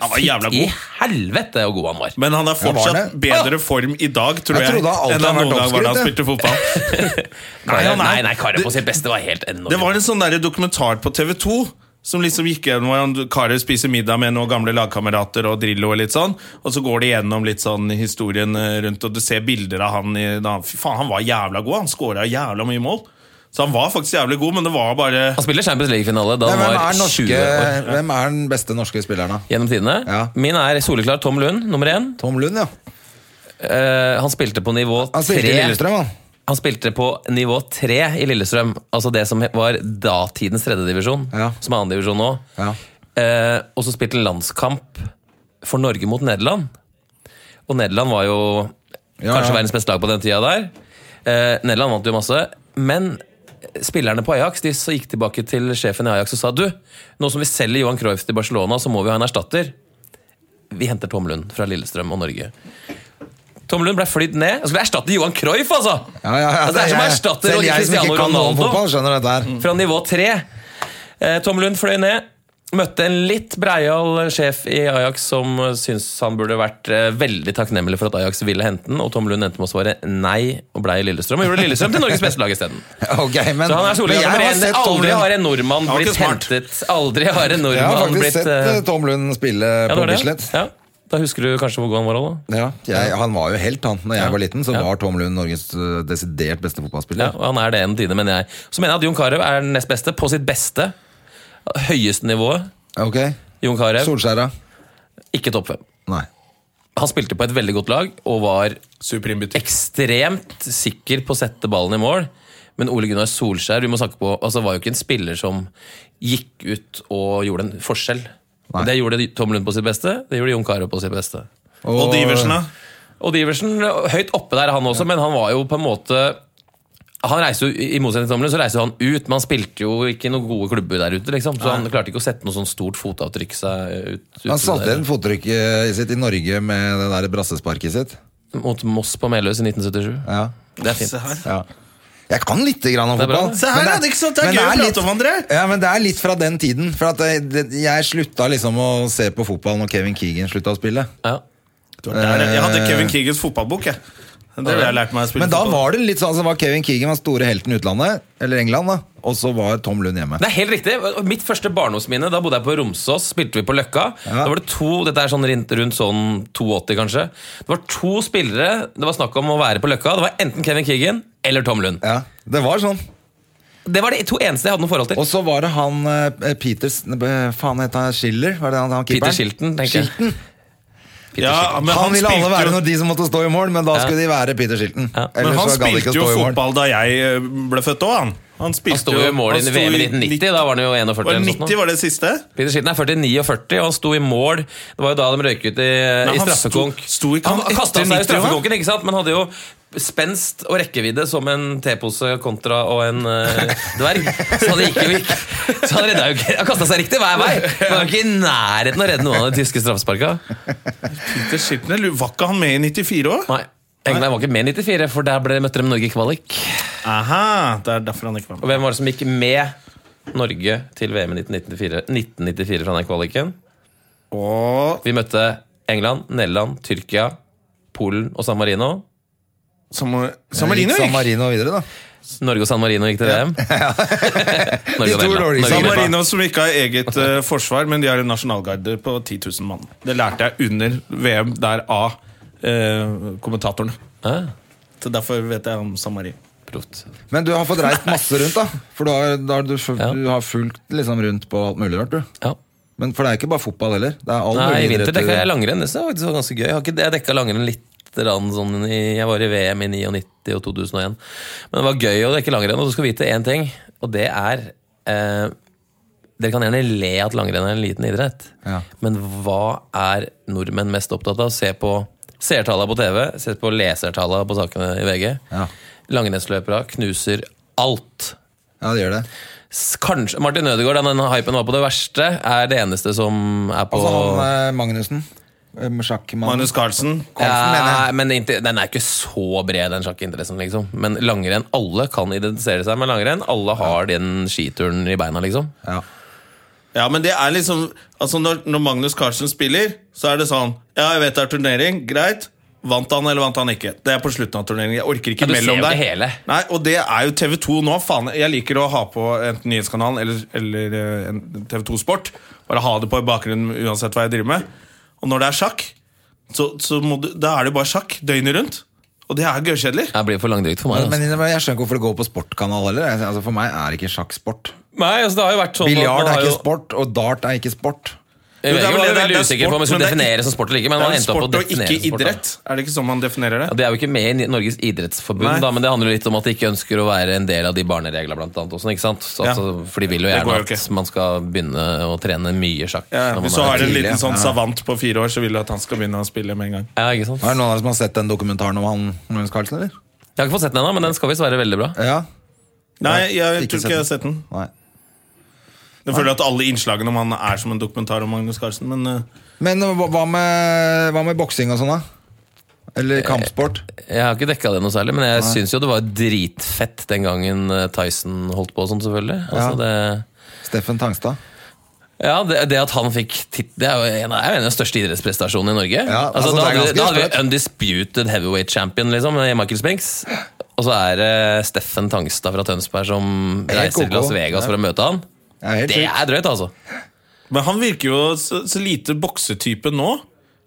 Han var jævla
i
god.
helvete hvor god han var.
Men han
Ja,
er
var
fortsatt
det?
bedre form i dag, tror
Jeg
jeg,
trodde han alltid
enn han
har vært
noen gang var da han
oppskrytt,
spilte fotball.
Nei,
han er-
nei, nei Karev på sitt beste var helt enorm.
Det var en sånn der dokumentar på TV 2 som liksom gikk gjennom hvor han- Karev spiser middag med noen gamle lagkamerater og Drillo og litt sånn. Og så går de gjennom litt sånn historien eh, rundt, og du ser bilder av han i da, Fy faen, han var jævla god. Han scora jævla mye mål. Så han var faktisk jævlig god, men det var bare
Han spiller Champions League-finale da
Nei,
han
Hvem er,
var
den
20
norske,
år.
hvem er den beste norske spilleren, da?
Gjennom tidene.
Ja.
Min er soleklar Tom Lund, nummer én.
Tom Lund, ja.
Eh, han spilte på nivå
Han spilte i
tre.
Lillestrøm, han.
Han spilte på nivå tre i Lillestrøm. Altså det som var datidens tredjedivisjon,
Ja.
som er andredivisjon nå.
Ja.
Eh, og så spilte han landskamp for Norge mot Nederland. Og Nederland var jo
Ja,
kanskje
ja.
verdens beste lag på den tida der. Eh, Nederland vant jo masse. Men spillerne på Ajax de så gikk tilbake til sjefen i Ajax og sa du, nå som vi selger Johan Cruyff til Barcelona, så må vi ha en erstatter. Vi henter Tom Lund fra Lillestrøm og Norge. Tom Lund ble flydd ned. Han skulle erstatte Johan Cruyff, altså!
Ja, ja, ja,
altså det er som å erstatte
Selv jeg som
Cristiano
ikke kan noe
Ronaldo
om
Mm.
fotball, skjønner dette her.
fra nivå 3. Eh, Tom Lund fløy ned. Møtte en litt breial sjef i Ajax som eh, syntes han burde vært eh, veldig takknemlig for at Ajax ville hente den, og Tom Lund endte med å svare nei og blei i Lillestrøm. Og gjorde Lillestrøm til Norges beste lag isteden.
Ok, men,
Så han er
men
soleklar
jeg
nummer
har
én.
sett Tom
Aldri
Lund.
har en nordmann
var ikke
blitt
smart.
hentet Aldri har en
Jeg har
nordmann
faktisk
blitt
sett
eh,
eh, Tom Lund spille
ja, det
på
var det.
Bislett.
Ja. Da husker du kanskje hvor god han var òg, da?
Ja, jeg, han var jo helt, han. Når jeg
Ja.
var liten, så
Ja.
var Tom Lund Norges øh, desidert beste
Ja,
fotballspiller.
og han er det en tine, mener jeg. Så mener jeg at Jon Carew er den nest beste på sitt beste. Høyeste nivået.
Ok,
Jon Carew,
Solskjæra?
ikke topp fem.
Nei.
Han spilte på et veldig godt lag og var
Supreme butikk.
ekstremt sikker på å sette ballen i mål. Men Ole Gunnar Solskjær vi må snakke på, altså var jo ikke en spiller som gikk ut og gjorde en forskjell.
Nei.
Det gjorde Tom Lund på sitt beste, det gjorde Jon Carew på sitt beste.
Og Diversen, da?
Odd Iversen, høyt oppe der han også, men han var jo på en måte han reiser jo, I motsetning til Tomlund så reiser jo han ut, men han spilte jo ikke i noen gode klubber der ute. liksom Så han klarte ikke å sette noe sånn stort fotavtrykk seg ut. ut
Han satte
der.
igjen fottrykket eh, sitt i Norge med det der brassesparket sitt.
Mot Moss på Meløs i 1977.
Ja.
Det er fint.
Se her.
ja. Jeg kan lite grann om
Det er bra,
fotball.
det.
Se her,
men
ja, det er ikke sant? Det er
men
gøy å prate
litt-
om, André.
Ja, men det er litt fra den tiden. For at jeg, det, jeg slutta liksom å se på fotball når Kevin Keegan slutta å spille.
Ja.
Der, jeg hadde Kevin Keegans fotballbok, jeg. Det har jeg lært meg å spille
Eh. Men da
fotball.
var det litt sånn som var Kevin Keegan var store helten i utlandet, eller England, da. Og så var Tom Lund hjemme.
Det er helt riktig. Mitt første barndomsminne, da bodde jeg på Romsås, spilte vi på Løkka.
Ja.
Da var det to, dette er sånn rundt, rundt sånn 82 kanskje. Det var to spillere det var snakk om å være på Løkka. Det var enten Kevin Keegan eller Tom Lund.
Ja, det var sånn.
Det var de to eneste jeg hadde noe forhold til.
Og så var det han eh, Peters eh, Faen, het han Schiller? Var det han, han
Peter
keeperen?
Shilton, tenker jeg. Peter
ja,
Shilton.
men
han,
han,
ville alle
spilte
være
jo,
noen de som måtte stå i mål, men da skulle de være Peter Shilton.
men
Ellers
han
så gadd de ikke
spilte
å
jo
stå i mål.
fotball da jeg eh, ble født òg, han. Han,
Han
spilte
sto jo i mål i
han sto
VM i 1990, da var han jo 41.
Var det
eller noe sånt
90
nå.
var det siste?
Peter Shilton er 49 og og han sto i mål. Det var jo da de røyk ut i,
Nei,
i
han
straffekonk.
sto- sto ikke
han
han
kasta seg
etter
i
90, hva?
straffekonken, ikke sant? men hadde jo spenst og rekkevidde som en tepose kontra og en eh, dverg. Så han gikk jo ikke Så han redda jo ikke Han kasta seg riktig hver vei! Men Han var ikke i nærheten å redde noen av de tyske straffesparka.
Peter Shilton, eller Var ikke han med i 94 òg?
Nei. England var ikke med i 94, for der ble, møtte de Norge i kvalik.
Aha, det er derfor han ikke var med.
Og hvem var det som gikk med Norge til VM i 1994, 1994 fra den kvaliken?
Og
Vi møtte England, Nederland, Tyrkia, Polen og San Marino.
Samar- Samarino
San
gikk.
Marino videre, da.
Norge og San Marino gikk til VM. Norge
De
og
to
Nederland. Norge
dårligste.
San
og Nederland.
Marino som ikke har eget eh, forsvar, men de har en nasjonalgarde på 10 000 mann. Det lærte jeg under VM der av eh, kommentatorene.
Ah,
Så derfor vet jeg om San Marino.
proft.
Men du har fått reist masse rundt, da. For du har, da har, du, f-
Ja.
du har fulgt liksom rundt på alt mulig rart, du.
Ja.
Men for det er ikke bare fotball heller. Det er all
Nei,
mulig
I vinter
idrett du-
dekka jeg langrenn. Det var faktisk ganske gøy. Jeg, har ikke, jeg dekka langrenn litt. grann Sånn i, jeg var i VM i 99 og 2001. Men det var gøy å dekke langrenn. Og du skal vite én ting, og det er eh, Dere kan gjerne le at langrenn er en liten idrett,
Ja.
men hva er nordmenn mest opptatt av? Se på seertallene på TV, se på lesertallene på sakene i VG.
Ja.
Langrennsløpere knuser alt.
Ja, det gjør det.
S- Kanskje Martin Ødegaard, da den hypen var på det verste, er det eneste som er på
Og så han eh, Magnussen. eh, med Sjakkmannen.
Magnus Carlsen.
Carlsen, mener
Ja,
jeg.
men inte- den er ikke så bred, den sjakkinteressen. liksom Men langrenn, alle kan identifisere seg med langrenn. Alle har den skituren i beina, liksom.
Ja.
Ja, men det er liksom Altså Når, når Magnus Carlsen spiller, så er det sånn Ja, jeg vet det er turnering, greit. Vant han eller vant han ikke? Det er på slutten av turneringen. Jeg orker ikke
Ja, du ser
mellom
jo
der.
ikke hele.
Nei, Og det er jo TV2 nå. Faen, jeg liker å ha på enten Nyhetskanalen eller, eller eh, en TV2 Sport. Bare ha det på i bakgrunnen uansett hva jeg driver med. Og når det er sjakk, så, så må du, da er det bare sjakk døgnet rundt. Og det er gørrkjedelig.
Det blir for langdrygt for meg.
Men,
Altså.
men jeg skjønner ikke hvorfor det går på sportkanal heller. Jeg- Altså, for meg er ikke sjakk sport.
Nei, altså, det har jo vært sånn at man har
Biljard er
jo-
ikke sport, og dart er ikke sport.
Jeg
Jo, det er
vet ikke
vel
om
det,
jeg er
det er- det
veldig
er
usikker på om jeg skulle
sport, men det er
definere som sport eller ikke. Men
Det
man
er
endte opp på å
sport og
definere som
ikke
sport, da.
idrett. Er det ikke sånn man definerer det?
Ja, det er jo ikke med i Norges idrettsforbund,
Nei.
da, men det handler jo litt om at de ikke ønsker å være en del av de barnereglene. Blant annet, og sånn, ikke sant? Så,
Ja.
altså, for de vil jo
Det
gjerne
går jo
at
ikke.
man skal begynne å trene mye sjakk.
Ja,
når man
hvis du
er
har en
tidlig.
liten sånn
ja.
savant på fire år, så vil du at han skal begynne å spille med en gang.
ja, ikke sant?
Er det noen av dere som har sett den dokumentaren om han Magnus Carlsen, eller?
Jeg har ikke fått sett den ennå, men den skal visst være veldig bra.
Ja?
Nei, jeg
ikke
tror
sett
ikke jeg
den.
har sett den.
Nei.
Jeg føler at alle innslagene om han er som en dokumentar om Magnus Carlsen, men eh,
Men hva- hva med, hva med boksing og sånn, da? Eller kampsport?
Jeg har ikke dekka det noe særlig, men jeg syns jo det var dritfett den gangen eh, Tyson holdt på og sånn, selvfølgelig. Altså, det,
Steffen Tangstad?
ja, det, det at han fikk titt- Det er jo en, er jo en av de største idrettsprestasjonene i Norge.
Ja,
altså,
altså,
da,
det er
hadde, vi- da
ganske
hadde vi undisputed heavyweight champion, liksom, i Michael Spinks. Og så er det Steffen Tangstad fra Tønsberg som reiser
koko.
til Las Vegas for å møte han.
Ja, helt
Det
sjukt.
er drøyt, altså.
Men han virker jo så, så lite boksetype nå.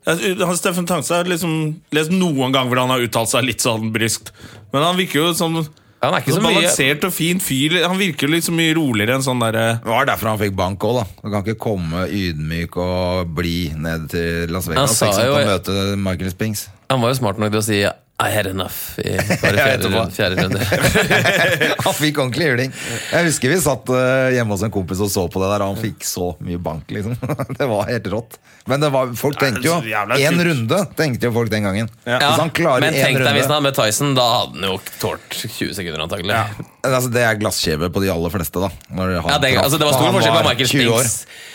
Jeg- han, Steffen Tangstad har liksom lest noen gang hvor han har uttalt seg litt sånn bryskt. Men han virker jo som
Han er ikke så
så
mye-
balansert og fin fyr. Han virker jo litt så mye roligere enn sånn derre
Det var derfor han fikk bank òg, da. Han kan ikke komme ydmyk og bli ned til Las
Han
Vegas
sa
ikke sant,
jo-
og møte Michael Spinks.
Han var jo smart nok til å si I had enough i bare
Jeg vet
fjerde,
det.
runde- fjerde runde.
Han fikk ordentlig juling. Jeg husker vi satt eh, hjemme hos en kompis og så på det der, og han fikk så mye bank, liksom. Det var helt rått. Men det var, folk tenkte jo
så jævla
Én
sjukt.
runde, tenkte jo folk den gangen. Hvis han klarer
Men
én
tenk deg hvis han
runde
hadde møtt Tyson, da hadde han jo tålt 20 sekunder, antagelig.
altså, Det er glasskjeve på de aller fleste, da. Når han
Ja, det,
traff-
altså, det var
når
stor
han
forskjell på
var
Michael
20 år.
Spinks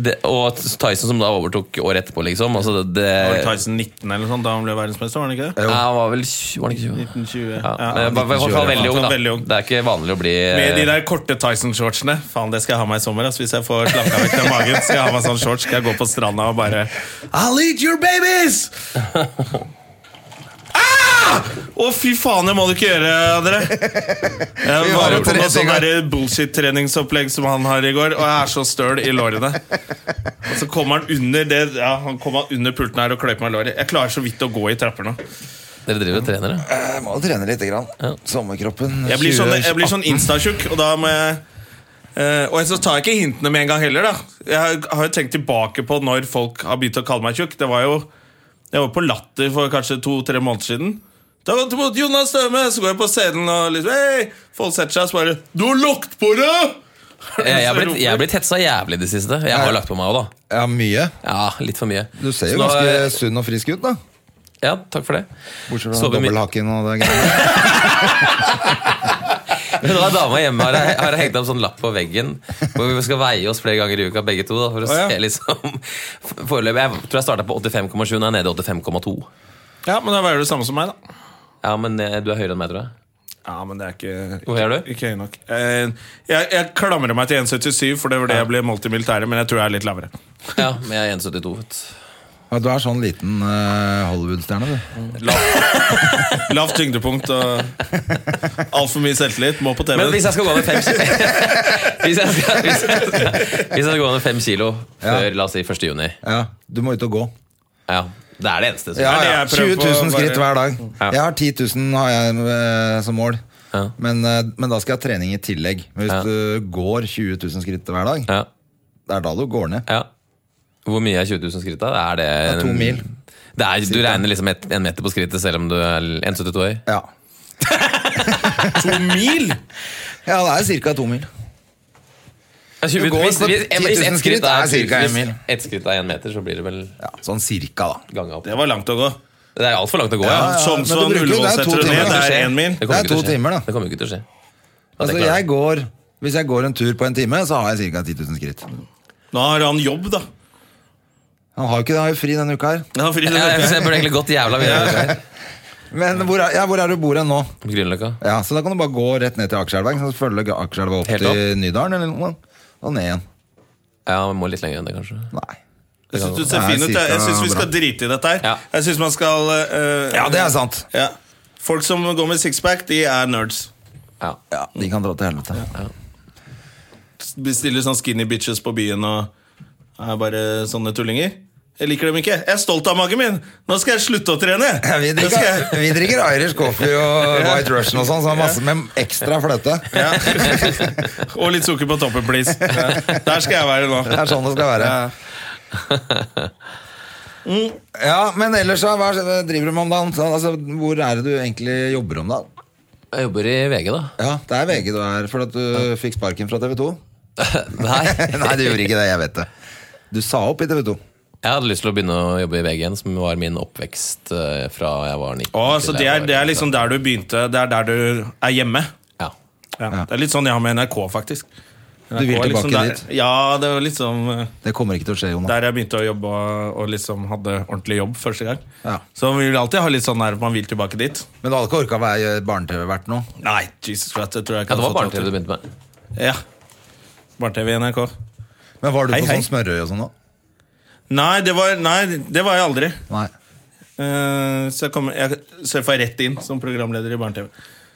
det, og Tyson, som da overtok året etterpå, liksom. Altså, det, det,
Var det Tyson 19 eller sånn da han ble verdensmester, var han ikke det?
ja, han var vel tj- Var han ikke 20?
1920.
Ja,
Ja,
men var- var i hvert fall
1920,
veldig
ja.
ung,
sånn
da.
Veldig ung.
Det er ikke vanlig å bli
Eh,
Med de der korte Tyson-shortsene. Faen, det skal jeg ha meg i sommer. ass. Hvis jeg får slanka vekk den magen, skal jeg ha meg sånn shorts. Skal jeg gå på stranda og bare I'll eat your babies! Ah! Å, fy faen, det må du ikke gjøre, André. Jeg
har
var
en
på noe
trening,
sånn
ja.
der bullshit-treningsopplegg som han har i går, og jeg er så støl i lårene. Og så kommer han under det Ja, han kommer under pulten her og kløyper meg i låret. Jeg klarer så vidt å gå i trapper nå.
Dere driver og trener, ja?
Jeg Eh, må jo trene lite grann. Sommerkroppen.
Jeg blir sånn,
20,
jeg blir sånn instatjukk, og da må jeg eh, og så tar jeg ikke hintene med en gang heller. da Jeg har- har jo tenkt tilbake på når folk har begynt å kalle meg tjukk. Det var jo Jeg var på Latter for kanskje to-tre måneder siden. Ta godt imot Jonas Støme! Så går jeg på scenen, og liksom hei! Folk setter seg og så bare Du har lagt på deg!
Jeg jeg har blitt, jeg har blitt hetsa jævlig i det siste. Jeg har lagt på meg òg, da.
Ja, mye.
Ja, litt for mye.
Du ser
Så
jo
nå-
ganske sunn og frisk ut, da.
Ja, takk for det.
Bortsett fra
Sover mye.
dobbelthaken og det greiene.
Men da er dama hjemme har, har hengt opp sånn lapp på veggen hvor vi skal veie oss flere ganger i uka, begge to. Da, for å
Å, ja.
se liksom Foreløpig Jeg tror jeg starta på 85,7, nå er jeg nede i 85,2.
Ja, men da veier du det samme som meg, da.
Ja, men eh, du er høyere enn meg, tror jeg.
Ja, men det er ikke
Hvor høy er du?
Ikke høy nok. Eh, jeg, jeg klamrer meg til 1,77, for det var det jeg ble målt i militæret, men jeg tror jeg er litt lavere.
Ja, men jeg er 1,72. vet du.
Ja, du er sånn liten eh, Hollywood-stjerne, du.
Lavt lav tyngdepunkt og altfor mye selvtillit. Må på TV.
Men hvis jeg skal gå ned fem kilo Hvis jeg skal, hvis jeg skal, hvis jeg skal gå ned fem kilo før la oss si 1. juni
Ja, du må ut og gå.
ja, Det er det eneste. som
Ja,
det
ja.
jeg
20
prøver på
000
hver-
skritt hver dag.
Ja.
Jeg har 10 000 har jeg, eh, som mål.
Ja.
Men, eh, men da skal jeg ha trening i tillegg. Men hvis
Ja.
du går 20 000 skritt hver dag,
Ja,
det er da du går ned.
ja. Hvor mye er 20 000 skritt? da? Er det,
Det er to mil.
Det er, du regner liksom et, en meter på skrittet selv om du er 1,72 høy?
Ja,
to mil?!
ja det er ca. to mil.
Ja, tjue-
Du går
hvis,
på
hvis,
10 000
hvis ett skritt
skritt
er,
er cirka en
hvis
mil.
ett skritt er en meter, så blir det vel
Ja, sånn cirka, da.
ganga opp.
Det var langt å gå.
Det er altfor langt å gå.
Ja,
Ja,
ja,
som
men
som
du bruker jo-
Ullevål
det er to
setter det
timer, altså.
ned,
da.
det er én mil.
Det kommer
Det er
ikke til å
to
skje.
timer, da.
Det kommer ikke til å skje. At
Altså,
jeg klarer
jeg går, hvis jeg går en tur på en time, så har jeg ca. 10 000 skritt.
Nå har han jobb, da.
Han har jo ikke det, han har jo fri denne uka her.
Han har fri
det.
denne
Ja, jeg,
uka.
jeg burde egentlig gått jævla videre.
Men hvor er, ja, hvor er du bor hen nå?
På Grünerløkka.
Ja, så da kan du bare gå rett ned til Akerselva. ikke sant? Så følger du Akerselva opp
Helt opp.
til Nydalen eller noe, og ned igjen.
Ja, vi må litt lenger enn det, kanskje.
Nei.
Jeg syns du
Det
ser
er
fin ut. Jeg, jeg
cirka
syns vi skal
bra.
drite i dette
Ja.
her. Jeg syns man skal eh,
Ja, det er sant.
ja. Folk som går med sixpack, de er nerds.
Ja.
Ja, de kan dra til helvete.
Bestiller sånn skinny bitches på byen og er bare sånne tullinger. Jeg liker dem ikke. Jeg er stolt av magen min! Nå skal jeg slutte å trene!
Ja, vi,
Nå skal jeg-
drikker, vi drikker Irish coffee og White Russian og sånn, så har masse med ekstra fløte.
Ja. Og litt sukker på toppen, please. Ja. Der skal jeg være nå.
Det er sånn det skal være.
Ja.
Ja, men ellers, så, hva driver du med om dagen? Så, Altså, hvor er det du egentlig jobber om dagen?
Jeg jobber i VG, da.
Ja, det er VG du er, for at du fikk sparken fra TV 2.
Nei.
Nei, du gjorde ikke det, jeg vet det. Du sa opp i TV 2.
Jeg hadde lyst til å begynne å jobbe i VG igjen, som var min oppvekst eh, fra jeg var 19.
Å,
til
så det
jeg
er,
var-
det er liksom der du begynte. Det er der du er hjemme.
Ja.
Ja. Det er litt sånn jeg har med NRK, faktisk.
Du vil
Og liksom
tilbake
der,
dit.
Ja, det var liksom eh,
Det kommer ikke til å skje, Jonas.
der jeg begynte å jobbe og- og liksom hadde ordentlig jobb første gang.
Ja.
Så vi vil alltid ha litt sånn der at man vil tilbake dit.
Men du hadde ikke orka å være barne-TV-vert nå?
Nei, Jesus Christ, det tror jeg ikke
ja, det var
hadde
barne-TV
fått
du
lov til.
begynte med.
Ja. Barne-TV i NRK.
Men var du
Hei,
på
hei.
sånn smørøy og sånn nå?
Nei, det var, nei, det var jeg aldri.
Nei.
Eh, så jeg, kom, jeg surfa rett inn som programleder i Barne-TV.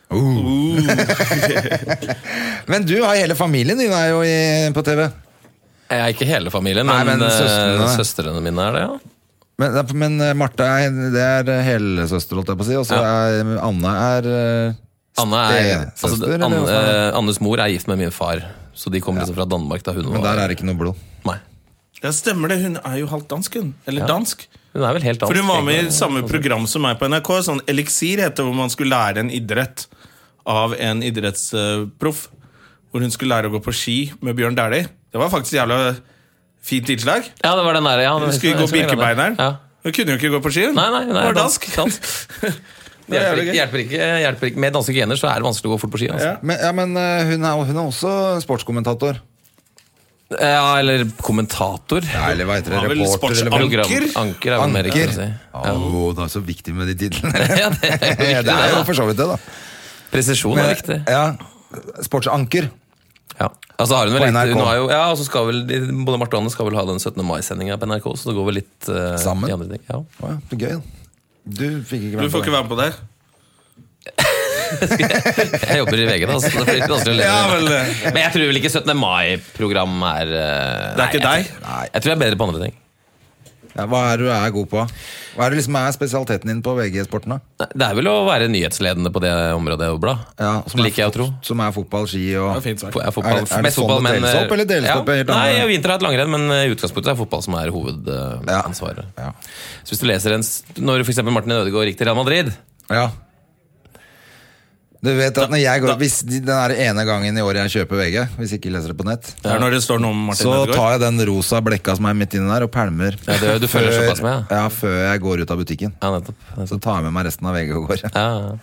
Uh.
Uh.
Men du har hele familien din er jo i, på TV.
Jeg er ikke hele familien,
Nei,
men,
men
eh,
søstrene.
søstrene mine er det, ja.
Men, men eh, Marte er, det er eh, helsøster, holdt jeg på å si. Og så er Anne er eh,
Anne er, altså,
stesøster. eller
Anne,
hva faen?
eh, Annes mor er gift med min far, så de kommer liksom fra Danmark da hun
men
var
der er det ikke noe blod.
Nei.
Ja, stemmer det. Hun er jo halvt dansk, hun. Eller dansk.
Hun er vel helt
For
dansk,
hun var med i
egentlig.
samme program som meg på NRK. Sånn Eliksir heter hvor man skulle lære en idrett av en idrettsproff. Hvor hun skulle lære å gå på ski med Bjørn Dæhlie. Det var faktisk jævla fint innslag.
Ja, det var den der, ja.
Hun
det-
skulle
jeg
gå
glemme det.
Birkebeineren.
Ja.
Hun kunne jo ikke gå på ski. Hun
Nei, nei, hun er
var dansk.
dansk. dansk. Det
Det er
hjelper ikke,
jævlig gøy.
hjelper ikke, hjelper ikke. Med danske gener så er det vanskelig å gå fort på ski. Altså.
Ja.
Men, ja, men eh, hun, er, hun er også sportskommentator.
Eh, Ja. eller kommentator.
Ja, eller hva heter det?
Ja, vel,
Reporter? Eller,
sportsanker.
hva-
Program- Anker er vel mer riktig å si.
Å, det er så viktig med de titlene.
Ja, det er jo viktig,
det
det,
er jo
da.
for så vidt det, da.
Presisjon er viktig.
ja, sportsanker.
Ja. Altså, har hun vel
På
litt,
NRK.
hun har jo, ja, og så skal vel, de- både Marte og Anne skal vel ha den 17. mai-sendinga på NRK, så det går vel litt eh,
Sammen?
i andre ting. Ja.
Å, ja, det er gøy, da. Du fikk ikke
Du får ikke
det.
være med på det. her.
Jeg jobber i VG, da, så det blir litt vanskelig å leve
Ja,
med.
vel,
Men jeg tror vel ikke 17. mai-program er eh,
Det er ikke
nei, jeg
deg.
tror- Nei, jeg tror jeg er bedre på andre ting.
Ja, hva er det du er god på? Hva er det liksom er spesialiteten din på VG-sporten, da?
Nei, Det er vel å være nyhetsledende på det området og bla.
Ja, som er
Liker jeg å tro.
Som er fotball, ski og
På- Jeg er fotball,
Er det- er det
mest
sånn
fotball,
det
men,
deles opp, eller deles det
ja.
opp i helt andre-
Nei, i vinter har jeg hatt langrenn, men eh, i utgangspunktet er fotball som er hovedansvaret.
Ja.
Så hvis du leser en s- Når f.eks. Martin Ødegaard gikk til Real Madrid
Ja. Du vet at når jeg går Hvis de- den er ene gangen i året jeg kjøper VG, hvis ikke jeg leser det på nett,
Det er når det står noe om Martin
så
Ødegaard.
tar jeg den rosa blekka som er midt inni der, og pælmer.
Ja, det- du følger såpass med,
ja. Før jeg går ut av butikken.
Ja, nettopp. nettopp.
Så tar jeg med meg resten av VG og går.
Ja. ja.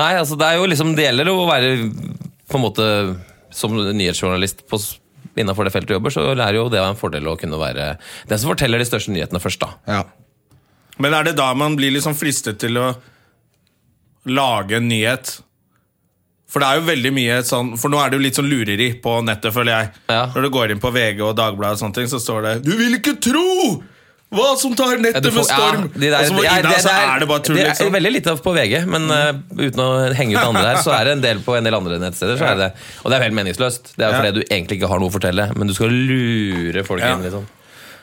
Nei, altså det er jo liksom Det gjelder å være på en måte Som nyhetsjournalist på s- Innenfor det feltet du jobber, så er jo det en fordel å kunne være den som forteller de største nyhetene først, da.
Ja.
Men er det da man blir liksom fristet til å lage en nyhet? For det er jo veldig mye sånn For nå er det jo litt sånn lureri på nettet, føler jeg.
Ja.
Når du går inn på VG og Dagbladet og sånne ting, så står det 'Du vil ikke tro hva som tar
Ja,
nettet
du får-
med storm'!
ja, de der-
og så, må
ja,
inn der, så er det bare tull,
det er
liksom.
veldig lite av på VG, men eh, uten å henge ut andre der, så er det en del på en del andre nettsteder. Så er det. det. Og det er helt meningsløst. Det er jo
Ja.
fordi du egentlig ikke har noe å fortelle, men du skal lure folk
Ja.
inn. liksom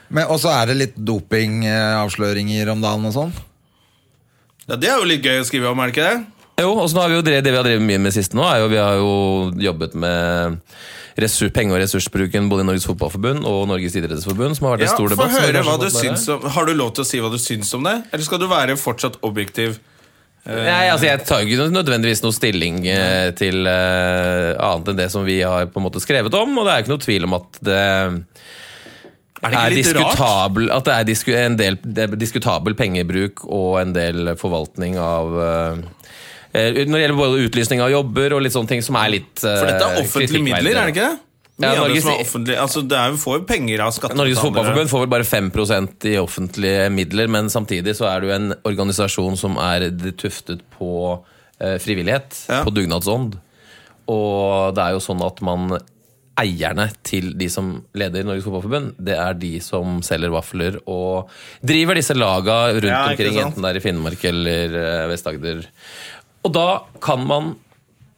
Men også er det litt dopingavsløringer om dagen og sånn.
Ja, det er jo litt gøy å skrive om, er det ikke det?
Jo, og så nå har vi jo drevet, Det vi har drevet mye med sist nå, er jo vi har jo jobbet med ressur, penge- og ressursbruken både i Norges Fotballforbund og Norges idrettsforbund, som har vært en
Ja,
stor debatt.
Få
som vi
høre
kanskje
hva
har
du
fått med
syns
dere.
om Har du lov til å si hva du syns om det? Eller skal du være fortsatt objektiv?
Nei, altså Jeg tar jo ikke noe- nødvendigvis noe stilling eh, til eh, annet enn det som vi har på en måte skrevet om, og det er jo ikke noe tvil om at det
Er det ikke litt rart?
diskutabel, At det er disku, en del det er diskutabel pengebruk og en del forvaltning av eh, eh, Når det gjelder både utlysning av jobber og litt sånne ting som er litt eh,
For dette er offentlige midler, er det ikke det?
Ja,
Mye av det
Norges-
som er offentlig Altså, det er jo får jo penger av skattebetalere.
Norges Fotballforbund får vel bare 5 i offentlige midler, men samtidig så er det jo en organisasjon som er tuftet på eh, frivillighet,
Ja.
på dugnadsånd. Og det er jo sånn at man Eierne til de som leder Norges Fotballforbund, det er de som selger vafler og driver disse laga rundt
Ja, ikke
omkring,
sant?
enten det er i Finnmark eller eh, Vest-Agder. Og da kan man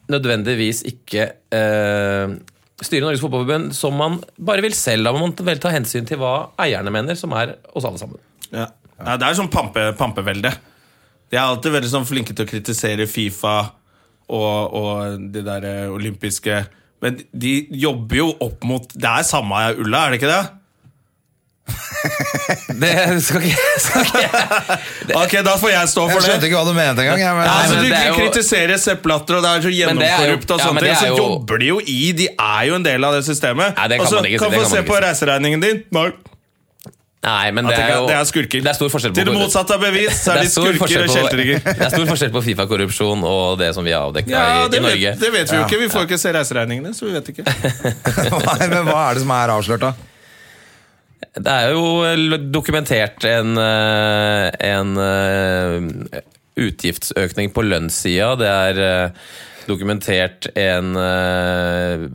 nødvendigvis ikke eh, styre Norges Fotballforbund som man bare vil selv. Da må man vel ta hensyn til hva eierne mener, som er oss alle sammen.
Ja. Nei, det er sånn pampe, pampevelde. De er alltid veldig sånn flinke til å kritisere Fifa og, og de der eh, olympiske Men de jobber jo opp mot Det er samme ulla, er det ikke det?
Det skal ikke, skal ikke
Ok, da får jeg stå
Jeg
for
skjønte
det.
ikke hva du mente engang. jeg, men-
Nei,
men
altså, du
det er jo-
kritiserer Sepp Blatter, og det er så
Men det er jo-
gjennomkorrupt, og
ja, men
sånne
det
ting,
er
så
jo-
jobber de jo i De er jo en del av det systemet.
Nei, det kan
og så
man ikke si, det
kan
kan
få se
man ikke
på
si.
reiseregningen din. Nei.
Nei, men
At
det
det
er
kan-
jo
det er skurker.
Det er stor forskjell på
Til det motsatte er bevis, så
Det
er
er
de
stor
skurker
forskjell
og
på,
kjeltringer.
det er stor forskjell på Fifa-korrupsjon og det som vi har avdekket her
Ja,
i,
det
i Norge.
vet, det vet vi jo ikke. Vi får jo ikke se reiseregningene, så vi vet ikke.
Nei, men hva er det som er avslørt, da?
Det er jo l- dokumentert en, eh, en eh, utgiftsøkning på lønnssida. Det er eh, dokumentert en eh,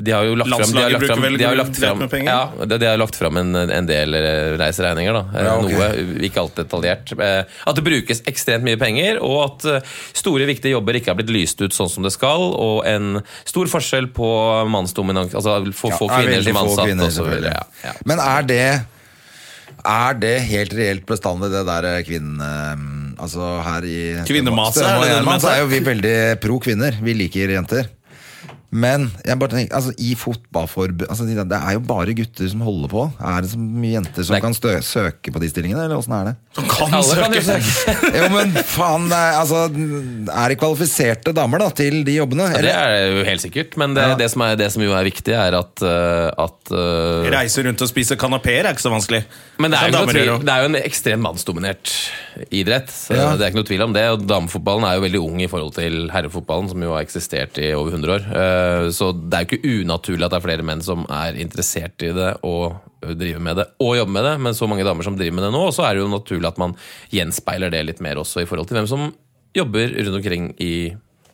De har jo lagt fram de har
Landslaget
lagt fram-
bruker vel
de har jo lagt
greit
fram-
med penger?
ja, de- de har jo lagt fram en, en del eh, reiseregninger, da. Eh,
Ja, ok.
Noe, ikke alt detaljert. Eh, At det brukes ekstremt mye penger, og at eh, store, viktige jobber ikke har blitt lyst ut sånn som det skal, og en stor forskjell på mannsdominans, altså for få
Ja,
kvinner som
veldig få
ansatt,
kvinner,
og så videre.
selvfølgelig.
Ja, ja.
Men er det Er det helt reelt bestandig, det der eh, kvinne... eh, Altså her i
Kvinnemaset, er det
Stønad og
det du
Gjerman, Så
mente?
er jo vi veldig pro kvinner. Vi liker jenter. Men jeg bare tenker, altså, i fotballforbund altså, de der- Det er jo bare gutter som holder på. Er det så mye jenter som
Nei.
kan stø søke på de stillingene, eller åssen er det?
Som kan
Alle kan jo
søke.
søke.
Jo, men faen, det er, altså, er det kvalifiserte damer da, til de jobbene?
Ja, det
Eller?
er jo helt sikkert, men det,
Ja.
det, som, er, det som jo er viktig, er at, eh, at eh,
Reise rundt og spise kanapeer er ikke så vanskelig.
Men det er,
Som
jo ikke noe
damer gjør
tvil, det er jo en ekstremt mannsdominert idrett. Så
Ja.
Det er ikke noe tvil om det. Og damefotballen er jo veldig ung i forhold til herrefotballen, som jo har eksistert i over 100 år. Eh, Så det er jo ikke unaturlig at det er flere menn som er interessert i det og driver med det, og jobber med det. Men så mange damer som driver med det nå, så er det jo naturlig at man gjenspeiler det litt mer også i forhold til hvem som jobber rundt omkring i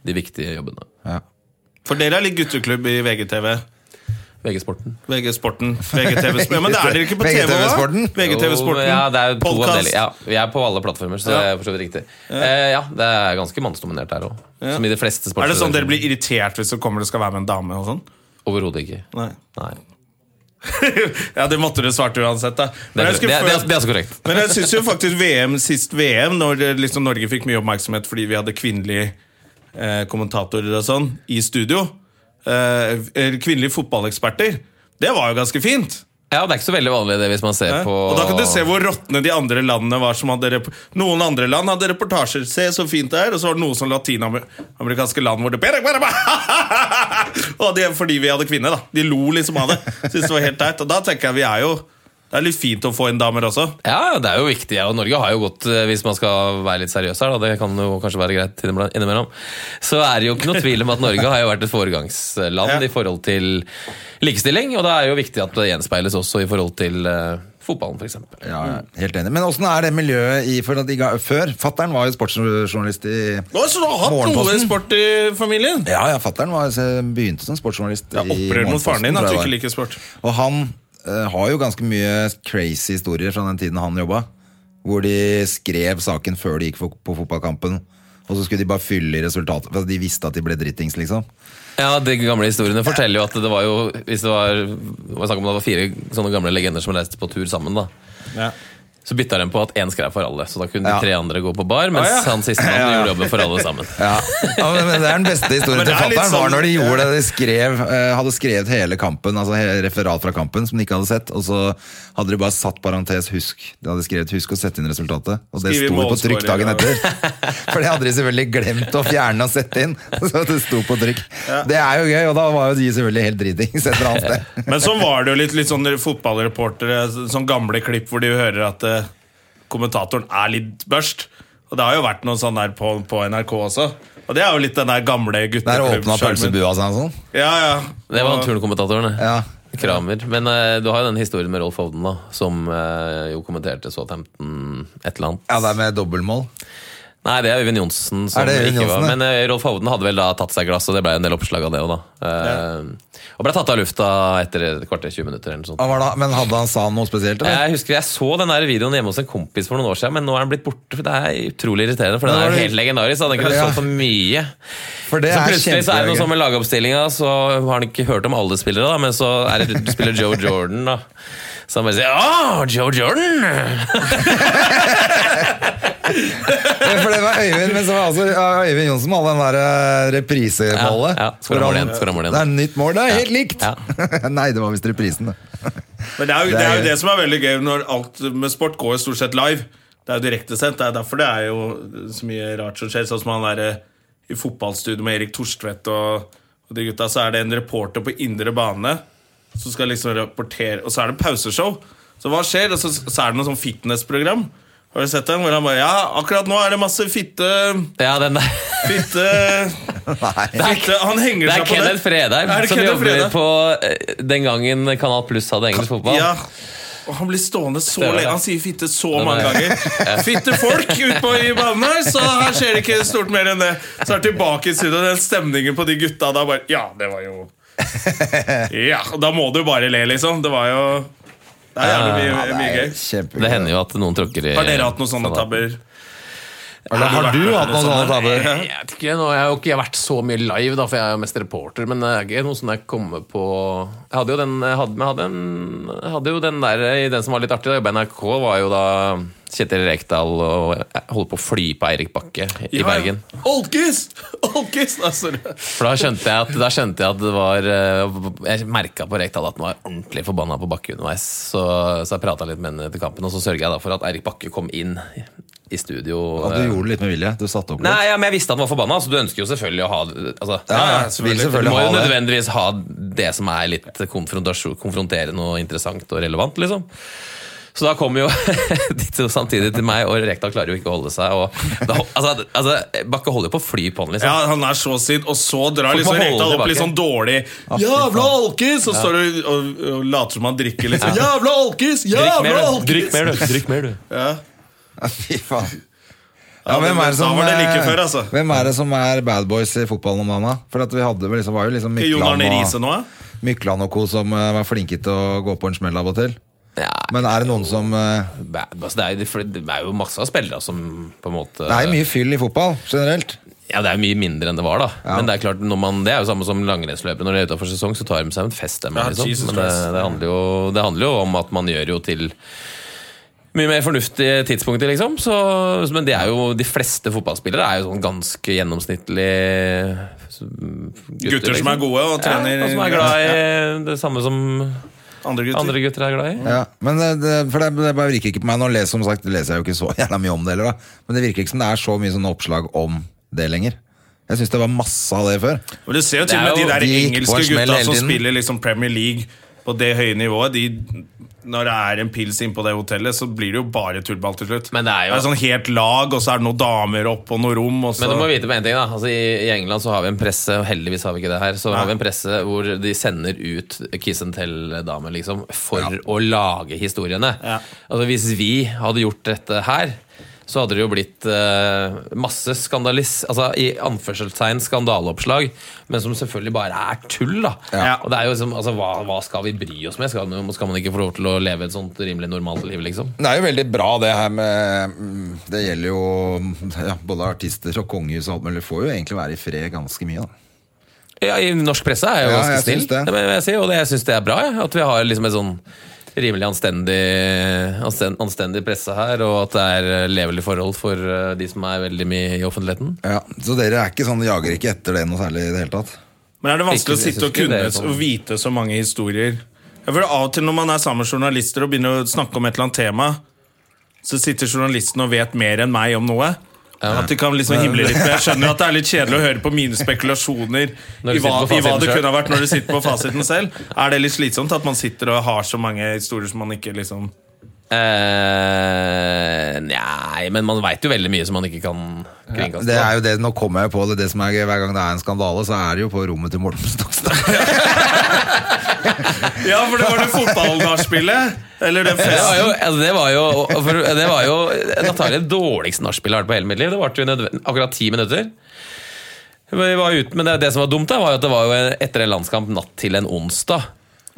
de viktige jobbene.
For dere er litt gutteklubb i VGTV.
VG-sporten.
VG-sporten. VGTV ja, men det er dere ikke på TV òg?
VGTV-sporten?
VGTV-sporten.
Ja, det er jo to
podcast.
avdelinger. Ja, vi er på alle plattformer, så
Ja.
det er for så vidt riktig. Eh, ja, det er ganske mannsdominert der òg. Som i de fleste sporter.
Er det sånn dere blir irritert hvis det kommer det skal være med en dame? og sånn?
Overhodet ikke.
Nei.
Nei.
ja, det måtte du svart uansett, da.
Det
Men
er,
jeg
korrekt. det, er, det, er, altså
skulle følt-
det er så korrekt.
Men jeg syns jo faktisk VM, sist VM, når det, liksom Norge fikk mye oppmerksomhet fordi vi hadde kvinnelige eh, kommentatorer og sånn i studio, eh, eller kvinnelige fotballeksperter, det var jo ganske fint. Eh,
Ja, det er ikke så veldig vanlig det hvis man ser på
Og da kan du se hvor råtne de andre landene var. Som hadde rep noen andre land hadde reportasjer. Se så fint det er. Og så var det noen sånn latinamerikanske land hvor det Og det er fordi vi hadde kvinne, da. De lo liksom av det. Synes det var helt teit. Og da tenker jeg vi er jo Det er litt fint å få inn damer også.
Ja, det er jo viktig. Ja. Og Norge har jo gått, eh, hvis man skal være litt seriøs her, da, det kan jo kanskje være greit innimellom- innimellom, så er det jo ikke noe tvil om at Norge har jo vært et foregangsland
Ja.
i forhold til likestilling, og det er jo viktig at det gjenspeiles også i forhold til eh, fotballen, f.eks.
Ja, ja, Mm. helt enig. Men åssen er det miljøet i for at de ga, Før? Fattern var jo sportsjournalist i
Å, så du har hatt noe
Morgenposten.
sport i familien?
Ja, ja, fattern begynte som sportsjournalist. i
Jeg opprører mot
Morgenposten,
faren din at
tror jeg
du
det
ikke
var.
liker sport.
Og han eh, har jo ganske mye crazy historier fra den tiden han jobba. Hvor de skrev saken før de gikk fo- på fotballkampen. Og så skulle de bare fylle i resultatet. For de visste at de ble drittings, liksom.
Ja, de gamle historiene forteller jo at det var jo Hvis det var, det var snakk om det var fire sånne gamle legender som reiste på tur sammen, da.
Ja.
Så bytta de på at én skrev for alle, så da kunne
Ja.
de tre andre gå på bar, mens
Ah, ja.
han sistemann gjorde jobben for alle sammen.
Ja, ja men, men Det er den beste historien
Men det
til
er litt
fattern.
sånn-
var når de gjorde det. De skrev, eh, hadde skrevet hele kampen, altså hele referat fra kampen som de ikke hadde sett. Og så hadde de bare satt parentes 'husk'. De hadde skrevet 'husk' og sett inn resultatet. Og det
Skrive
sto jo på trykk dagen
målscorer, ja.
etter. For det hadde de selvfølgelig glemt å fjerne og sette inn. Så det sto på trykk. Det er jo gøy, og da var jo de selvfølgelig helt dritings et eller annet sted.
Men sånn var det jo litt, litt sånn fotballreportere, sånn gamle klipp hvor de hører at eh, kommentatoren er litt børst. Og det har jo vært noen sånn der på, på NRK også. Og det er jo litt den der gamle
Der åpna
gutteklubbskjermen.
pølsebua seg og sånn.
Ja, ja.
Det var turnkommentatoren, det.
Ja.
Kramer. Men eh, du har jo den historien med Rolf Hovden, da, som eh, jo kommenterte Southampton et eller annet.
Ja, det er med dobbeltmål.
Nei, det er Øyvind Johnsen som
Er det Øyvind
ikke var
Johnsen,
Men
ja?
eh, Rolf Hovden hadde vel da tatt seg et glass, og det ble en del oppslag av det òg, da. Eh, Og ble tatt av lufta etter et kvarter, 20 minutter eller noe sånt.
Ja, var det- Men hadde han sa han noe spesielt? Eller?
Jeg husker jeg så den der videoen hjemme hos en kompis for noen år siden, men nå er den blitt borte. for Det er utrolig irriterende, for den
Men
er
var
jo
det-
helt legendarisk. så Den kunne
Ja.
solgt for mye.
For det
Så
er
plutselig så er det noe sånn
kjempegøy.
med lagoppstillinga, så har han ikke hørt om alle spillere, da, men så er det spiller Joe Jordan, da. Så han bare sier 'Å, Joe Jordan!'
Ja, For det var Øyvind, men så var altså Øyvind Johnsen med all den der eh, reprisemålet.
Ja, ja. Skåra
Hvor
mål
han-
igjen, skåra mål igjen.
Det er nytt mål, det er helt likt!
Ja.
Nei, det var visst reprisen, det.
Men det er,
Det
jo, det,
er
er jo
gøy.
det som er veldig gøy når alt med sport går jo stort sett live. Det er jo direktesendt. Det er derfor det er jo så mye rart som skjer. Sånn som han der eh, i fotballstudio med Erik Torstvedt og, og de gutta, så er det en reporter på indre bane som skal liksom rapportere, og så er det pauseshow. Så hva skjer? Og så, så er det noe sånn fitnessprogram. Har du sett den? Hvor han bare Ja, akkurat nå er det masse fitte
Ja, den der.
Fitte,
Nei.
fitte Han henger
Det er
seg på det.
Kenneth Fredheim
Er det
som
Kenneth
jobber
Fredheim?
på eh, den gangen Kanal Pluss hadde engelsk fotball.
Ja. Og han blir stående så
Stemmer det.
lenge. Han sier fitte så
er
mange
det.
ganger. Fitte folk ut på i banen her, så her skjer det ikke stort mer enn det. Så er det tilbake i studio, den stemningen på de gutta da bare Ja, det var jo Ja, da må du bare le, liksom. Det var jo Det er jævlig mye, mye gøy.
Kjempegøy.
Det hender jo at noen tråkker i
Har dere hatt noen sånne tabber?
Eller har du hatt noen sånne
sånn
tabber?
Jeg vet ikke, nå, jeg har jo ikke jeg har vært så mye live, da, for jeg er jo mest reporter. Men det er ikke noe som jeg kommer på Jeg hadde jo den, jeg hadde, jeg hadde, en, jeg hadde jo den der i den som var litt artig. Da jeg jobbet i NRK, var jo da Kjetil Rekdal og jeg holdt på å fly på Eirik Bakke i
Ja, ja.
Bergen.
Olkis! Olkis! Nei, sorry.
For da skjønte jeg at, da skjønte jeg at det var eh, Jeg merka på Rekdal at han var ordentlig forbanna på Bakke underveis. Så, så jeg prata litt med henne etter kampen, og så sørga jeg da for at Eirik Bakke kom inn i- i studio.
At
eh,
du gjorde det litt med vilje? Du satte opp litt?
Nei, ja, men jeg visste at han var forbanna, så du ønsker jo selvfølgelig å ha altså,
Ja, ja, selvfølgelig. Vil
Du
selvfølgelig
må jo
ha det.
nødvendigvis ha det som er litt konfrontasjon- konfronterende og interessant og relevant, liksom. Så da kommer jo de to samtidig til meg, og Rekdal klarer jo ikke å holde seg. Og da, altså, altså, Bakke holder jo på å fly på han, liksom.
Ja, han er så sint, og så drar
Folk
liksom
må holde
Rekdal opp
tilbake.
litt sånn dårlig. Jævla alkis! Og står og, og, og later som han drikker, liksom. Jævla alkis!
Drikk mer,
Jævla
du.
alkis!
Drikk mer, du. Drikk mer, du.
Ja, Fy faen.
Ja, men da var det like før, altså.
eh, hvem er det som er bad boys i fotballen om dagen? da? For at vi hadde vel liksom, var jo liksom
Jon Arne
Mykland
Riise
og,
nå, ja?
Mykland og co. som eh, var flinke til å gå på en smell av og til.
Ja,
Men er det noen som eh,
bad, altså, det, er, jo- for det er jo masse av spillere som på en måte
Det er mye fyll i fotball generelt.
Ja, det er mye mindre enn det var, da.
Ja.
Men det er klart, når man, det er jo samme som langrennsløpere. Når de er utenfor sesong, så tar de seg en fest. dem,
Ja,
liksom.
Jesus
Men det,
Christ.
det, handler jo, det handler jo om at man gjør jo til mye mer fornuftige tidspunkter, liksom. Så, men det er jo, de fleste fotballspillere er jo sånn ganske gjennomsnittlig gutter,
Gutter som er gode og
liksom.
trener
Ja, og som er glad i det samme som
andre gutter.
andre gutter er glad i.
Ja, men eh, det, for det, det bare virker ikke på meg. Nå leser, som sagt, leser jeg jo ikke så jævla mye om det heller, da. Men det virker ikke som det er så mye sånne oppslag om det lenger. Jeg syns det var masse av det før.
Men du ser jo til og
Det er
med de
jo-
der
de gikk på
engelske
en smell
gutta
hele
som
tiden.
spiller liksom Premier League på det høye nivået. De, når det er en pils inn på det hotellet, så blir det jo bare tullball til slutt.
Men det er jo-
sånn helt lag, og så er det noen damer opp og noen rom. Og så.
Men du må vite på en ting da altså, i, I England så har vi en presse, og heldigvis har vi ikke det her, så har vi en presse hvor de sender ut kiss and tell-damer liksom, for å lage historiene.
Ja.
Altså Hvis vi hadde gjort dette her, så hadde det jo blitt eh, masse skandalis... Altså i anførselstegn skandaleoppslag, men som selvfølgelig bare er tull, da.
Ja.
Og det er jo liksom, altså hva, hva skal vi bry oss med? Skal, skal man ikke få lov til å leve et sånt rimelig normalt liv, liksom?
Det er jo veldig bra det her med mm, Det gjelder jo ja, både artister og kongehus og alt mulig. Får jo egentlig være i fred ganske mye, da.
Ja, i Norsk presse er jo
Ja,
ganske
jeg
snill.
syns det.
Det må jeg si, og det, jeg syns det er bra. jeg, At vi har liksom et sånn rimelig anstendig, ansten- anstendig presse her, og at det er eh, levelige forhold for eh, de som er veldig mye i offentligheten.
Ja, så dere er ikke sånn, jager ikke etter det noe særlig i det hele tatt?
Men er det
Ikke-
vanskelig å sitte
jeg synes
og
ikke
kunne
det er sånn.
og vite så mange historier? Ja, for Av og til når man er sammen med journalister og begynner å snakke om et eller annet tema, så sitter journalisten og vet mer enn meg om noe. At de kan liksom himle litt med. Jeg skjønner at det er litt kjedelig å høre på mine spekulasjoner
Når du
i hva,
sitter på
i
fasiten
hva det
selv.
kunne ha vært når du sitter på fasiten selv. Er det litt slitsomt at man sitter og har så mange historier som man ikke liksom
Eh, nei, men man veit jo veldig mye som man ikke kan kringkaste.
Det er jo det, Nå kommer jeg på det. Det som er gøy Hver gang det er en skandale, så er det jo på rommet til Morten Stokstad.
Ja, for det var det fotballnachspielet! Eller den
Det var
festen.
jo, altså, det var jo, for, det var jo Natalie det dårligste nachspielet jeg har vært på hele mitt liv. Det varte jo nødve- akkurat ti minutter. Vi var ute, men det, det som var dumt, da, var jo at det var jo etter en landskamp natt til en onsdag.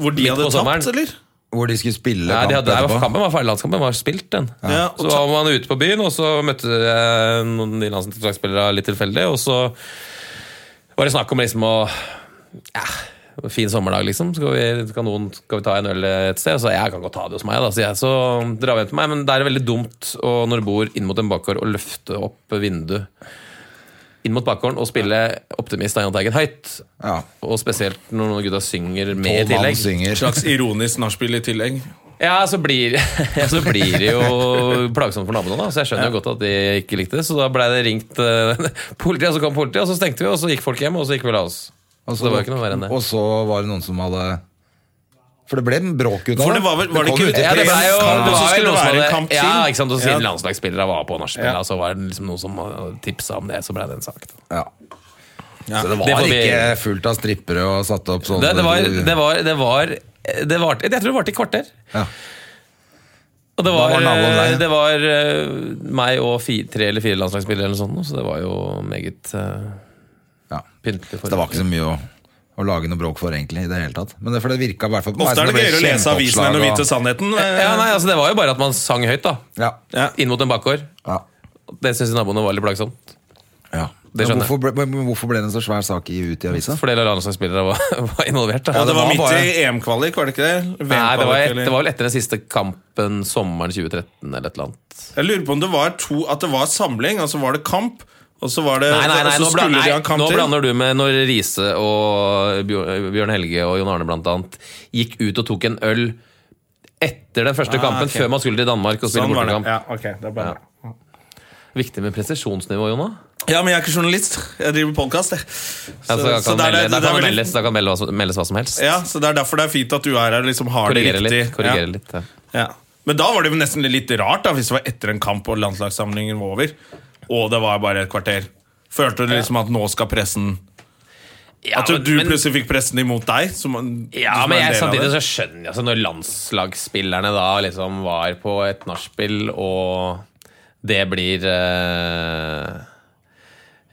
Hvor de
Midt på
hadde
sommeren.
tapt, eller?
Hvor de skulle spille
Nei, de
kamp
hadde, nei,
etterpå.
kampen var ferdig, landskampen var spilt, den.
Ja, og
så var man ute på byen, og så møtte jeg noen de landslagsspillere litt tilfeldig, og så var det snakk om liksom å ja, Fin sommerdag, liksom. Skal vi, skal, noen, skal vi ta en øl et sted? Så jeg kan godt ta det hos meg, da, sier jeg. Så drar vi hjem til meg. Men det er veldig dumt å, når du bor inn mot en bakgård, å løfte opp vinduet inn mot bakgården og spille 'Optimist' av Jahn Teigen høyt.
Ja.
Og spesielt når noen gutta synger med i
Og mann
tillegg.
Et
synger.
slags ironisk nachspiel i tillegg.
Ja, så blir, ja, så blir det jo plagsomt for naboene, da. Så jeg skjønner jo godt at de ikke likte det. Så da blei det ringt eh, politi, og så kom politiet, og så stengte vi, og så gikk folk hjem, og så gikk vi og la oss.
Og
Så altså, det var ikke noe verre enn det.
Og så var det noen som hadde For det ble en bråk ut av
For det var vel- var det
kom
ikke-
ut i
Ja,
det
ble
pressen.
blei jo,
kamp,
det
og så
var jo
skulle
noen
det
som
være en
hadde
kamp til.
Ja, ikke sant, og siden
Ja.
landslagsspillere var på nachspiel,
Ja.
da, så var det liksom noen som tipsa om det, så blei det en sak. Da.
Ja. Så det var
Det får vi-
ikke fullt av strippere og satt opp sånn
Det, det var Det var, det var, det var Jeg tror det varte i kvarter.
Ja.
Og det var, eh,
var naboen der, ja.
det var eh, meg og fi, tre eller fire landslagsspillere eller noe sånt, så det var jo meget eh,
ja.
pyntelig.
Så det var ikke så mye å, å lage noe bråk for, egentlig. I det hele tatt. Men det, for det virka i hvert fall på meg
Ofte
som
er det
ble
gøyere å lese avisen
kjempeoppslag
enn å
og-
vite sannheten.
Ja, nei, altså Det var jo bare at man sang høyt, da.
Ja.
Ja.
Inn mot en bakgård.
ja.
det syns naboene var litt plagsomt.
Ja.
Det
Men
skjønner
hvorfor, ble, men hvorfor ble det en så svær sak i, ut i avisa?
Fordi landslagsspillere var, var involvert. Da.
Og det var midt
bare-
i EM-kvalik, var det ikke det?
Nei, det var,
VM-kvalik,
et,
eller?
det var vel etter den siste kampen sommeren 2013 eller et eller annet.
Jeg lurer på om det var to At det var samling, og så var det kamp. Og så var det
Nei, nei, nei,
og
nå,
så
bla,
skulle de ha
nei,
kamp
nå
til.
blander du med når Riise og Bjør- Bjørn Helge og Jon Arne blant annet gikk ut og tok en øl etter den første kampen,
Ah, ok.
før man skulle til Danmark og spille
Sånn var det.
bortekamp.
Ja, ok, det er bare det.
Viktig med presisjonsnivå, Jonna.
ja, men jeg er ikke journalist. Jeg driver med podkast.
Ja, så da kan melde- da kan det meldes-
Ja,
da kan melde hva som- meldes hva som helst.
så det er derfor det er fint at du er her og liksom har
Korrigere
det riktig.
litt. Korrigere
ja.
litt ja.
Ja. Men da var det jo nesten litt rart, da, hvis det var etter en kamp og landslagssamlingen var over, og det var bare et kvarter. Følte du liksom at nå skal pressen
Ja,
At du,
men-
du
men-
plutselig fikk pressen imot deg? Som,
Ja,
som
men jeg,
er en del av
samtidig
det.
så skjønner jeg altså, Når landslagsspillerne da liksom var på et nachspiel, og det blir eh,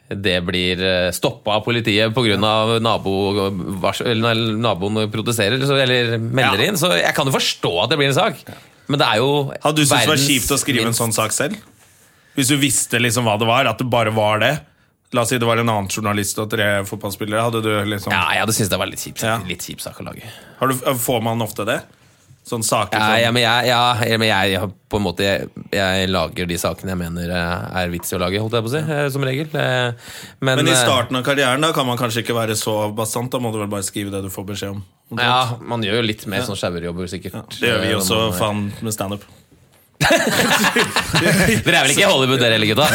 Det blir eh, stoppa av politiet pga. Nabo, vars- eller når naboen protesterer så, eller melder
Ja.
inn, så jeg kan jo forstå at det blir en sak. Men det er jo
Hadde du syntes det var
verdens
kjipt å skrive en
minst-
sånn sak selv? Hvis du visste liksom hva det var, at det bare var det? La oss si det var en annen journalist og tre fotballspillere. Hadde du liksom,
Ja, jeg hadde syntes det var litt kjipt.
Ja.
Litt kjip sak å lage.
har du, får man ofte det? Sånne saker
Ja,
som-
ja, men jeg, ja, ja, men jeg, jeg, har på en måte, jeg, jeg lager de sakene jeg mener eh, er vits i å lage, holdt jeg på å si, eh, som regel. Eh, Men,
Men i
eh,
starten av karrieren da kan man kanskje ikke være så bastant. Da må du vel bare skrive det du får beskjed om.
Ja, man gjør jo litt mer sånn sjauerjobber, sikkert.
Det gjør vi
Eh,
også
når man-
faen med standup.
Dere er vel ikke i Hollywood, dere heller, gutta?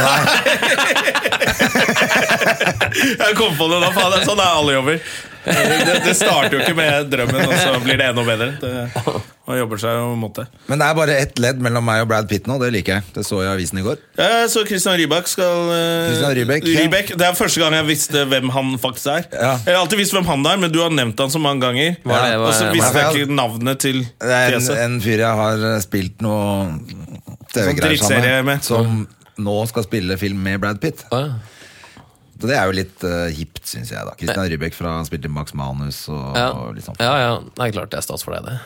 Jeg kom på det da, faen. det er Sånn er alle jobber. Det, det starter jo ikke med drømmen, og så blir det enda bedre. Det, man jobber seg jo mot det.
Men det er bare ett ledd mellom meg og Brad Pitt nå, det liker jeg. Det så jeg i avisen i går.
Ja, så Christian Rybak skal eh,
Christian Rybak, ja.
Det er første gang jeg visste hvem han faktisk er.
Ja.
Jeg har alltid visst hvem han er, men du har nevnt han så mange ganger.
Hva er det- hva er
Og så
det-
visste
hva er det?
jeg ikke navnet til
Det er en,
fjeset.
en fyr jeg har eh, spilt noe TV-greier
drittserie
sammen
med.
som nå skal spille film med Brad Pitt.
Ja.
Så det er jo litt eh, hipt, syns jeg. da Christian Rybek fra han spilte Max Manus og,
Ja.
og litt sånn.
ja, ja. Nei, klart det er stas for deg, det.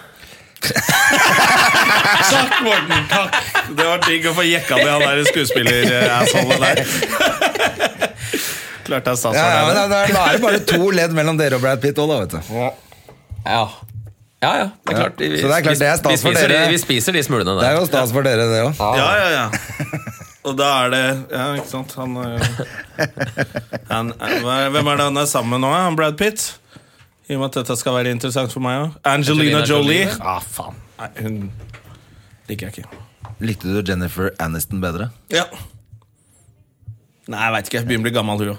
Takk, Morten! Takk. Det var digg å få jekka ned han der skuespiller-assholet der. Klart det er stas
Ja, ja, men
for
da,
deg.
da er det bare to ledd mellom dere og Brad Pitt òg, da, vet du.
Ja, ja. ja det er
Ja.
klart. Vi-
Så det er klart, det er
vi,
stas for
spiser
dere.
de, vi spiser de smulene
Det er
der.
jo stas for dere, det òg.
det. Ja, ja, ja. Og da er det Ja, ikke sant. Han, er jo- han, eh, hva er- hvem er det han er sammen med nå? Han Brad Pitt? I og med at dette skal være interessant for meg òg. Angelina,
Angelina
Jolie.
Jolie.
Ah, faen. Nei, hun liker jeg ikke.
Likte du Jennifer Aniston bedre?
Ja. Nei, jeg veit ikke. Jeg begynner å bli gammel, hun òg.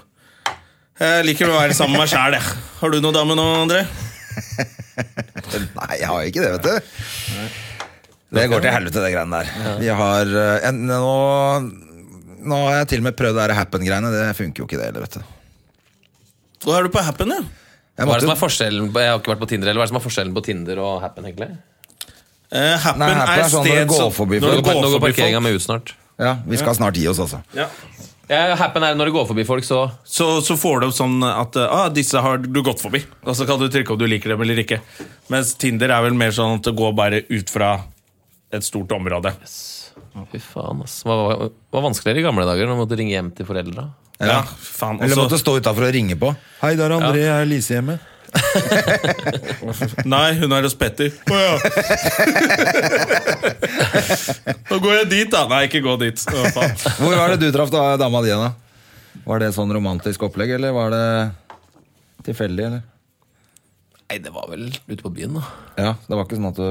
Jeg liker å være sammen med meg sjæl, jeg. Har du noe dame nå, André?
Nei, jeg har ikke det, vet du. Det går til helvete, det greiene der. Vi har eh, en, nå, nå har jeg til og med prøvd det her Happen-greiene. Det funker jo ikke, det heller, vet du.
Da er du på Happen, ja.
Jeg
Hva er det
måtte,
som er forskjellen på, jeg har ikke vært på Tinder, eller hva er det som er forskjellen på Tinder og Happen, egentlig?
Eh, happen,
Nei, Happen
er
er sånn når
sted
du går
som-
Nå
forbi
når du
folk.
går, nå
går
går
forbi
parkeringa
folk.
mi ut snart.
ja, vi skal snart gi oss, altså.
Ja.
Ja, happen er når du går forbi folk, så
Så, så får du opp sånn at eh, ah, disse har du gått forbi. Og så kan du trykke om du liker dem eller ikke. Mens Tinder er vel mer sånn at det går bare ut fra et stort område.
Fy faen, ass. Det var, var, var vanskeligere i gamle dager når man måtte ringe hjem til foreldra.
Ja, faen.
Eller måtte
Også,
stå utafor og ringe på. Hei, der er André. Er Lise hjemme?
nei, hun er hos Petter. Å ja. Nå går jeg dit, da. Nei, ikke gå dit. Å, faen.
Hvor var det du traff da, dama di, da? Var det sånn romantisk opplegg, eller var det tilfeldig, eller?
Nei, det var vel ute på byen, da.
Ja, det var ikke sånn at du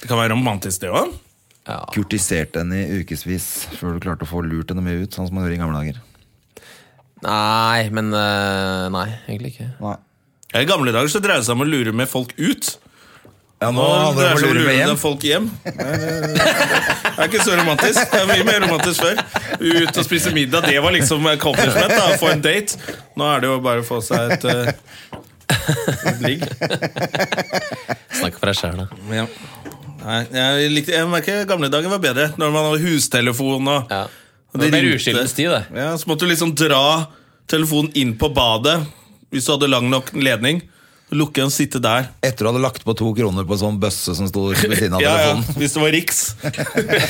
Det kan være romantisk, det òg.
Ja.
kurtiserte henne i ukevis før du klarte å få lurt henne med ut, sånn som man gjorde i gamle dager.
Nei, men eh, Nei, egentlig ikke.
Nei.
Ja, I gamle dager så dreide det seg om å lure med folk ut.
Ja, nå
Nå
hadde
dreier det
du
seg om å
lurt med
lure
hjem.
med folk hjem. Det er ikke så romantisk. Det er mye mer romantisk før. Ut og spise middag, det var liksom accomplishment. da, Få en date. Nå er det jo bare å få seg et eh, et ligg.
Snakk for deg sjæl, da.
Nei, jeg, likte, jeg merker gamle dager var bedre. Når man hadde hustelefon og
Ja.
Og
Det
de
er
ringte.
uskyldens tid, det.
Ja, så måtte du liksom dra telefonen inn på badet hvis du hadde lang nok ledning. Lukke en sitte der.
Etter du hadde lagt på to kroner på en sånn bøsse som sto ved siden av
Ja, ja,
telefonen.
hvis det var Riks.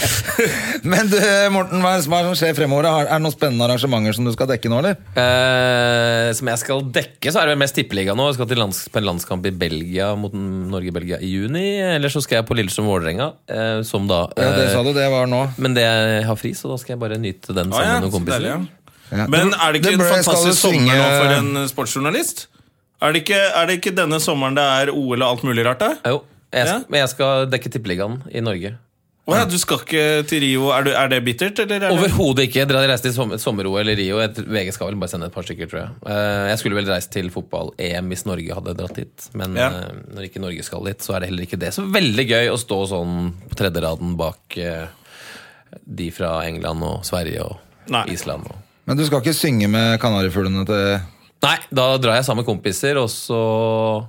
Men du, Morten, hva er det som er som skjer fremover? da? Er det noen spennende arrangementer som du skal dekke nå, eller?
Eh, som jeg skal dekke, så er det vel mest tippeliga nå. Jeg skal til lands, på en landskamp i Belgia mot Norge-Belgia i juni. Eller så skal jeg på Lillestrøm-Vålerenga, eh, som da
Ja, det
eh,
sa du, det var nå.
Men det jeg har fri, så da skal jeg bare nyte den sammen
Ja, Ah, ja,
med noen
så
kompiser.
deilig, ja. Men er det ikke
Det
en
ble-
fantastisk
skal du
sommer nå
synge-
for en eh, sportsjournalist? Er det ikke, er det ikke denne sommeren det er OL og alt mulig rart der?
Jo, jeg,
Ja.
men jeg skal dekke tippeligaen i Norge.
Å ja, du skal ikke til Rio. Er, du, er det bittert, eller? Er det?
Overhodet ikke. Dere hadde reist til sommer- sommer-OL i Rio. Jeg tror- VG skal vel bare sende et par stykker, tror jeg. Eh, Jeg skulle vel reist til fotball-EM hvis Norge hadde dratt dit, men
Ja.
eh, når ikke Norge skal dit, så er det heller ikke det. Så veldig gøy å stå sånn på tredjeraden bak eh, de fra England og Sverige og
Nei.
Island. Og
Men du skal ikke synge med kanarifuglene til
Nei, da drar jeg sammen med kompiser, og så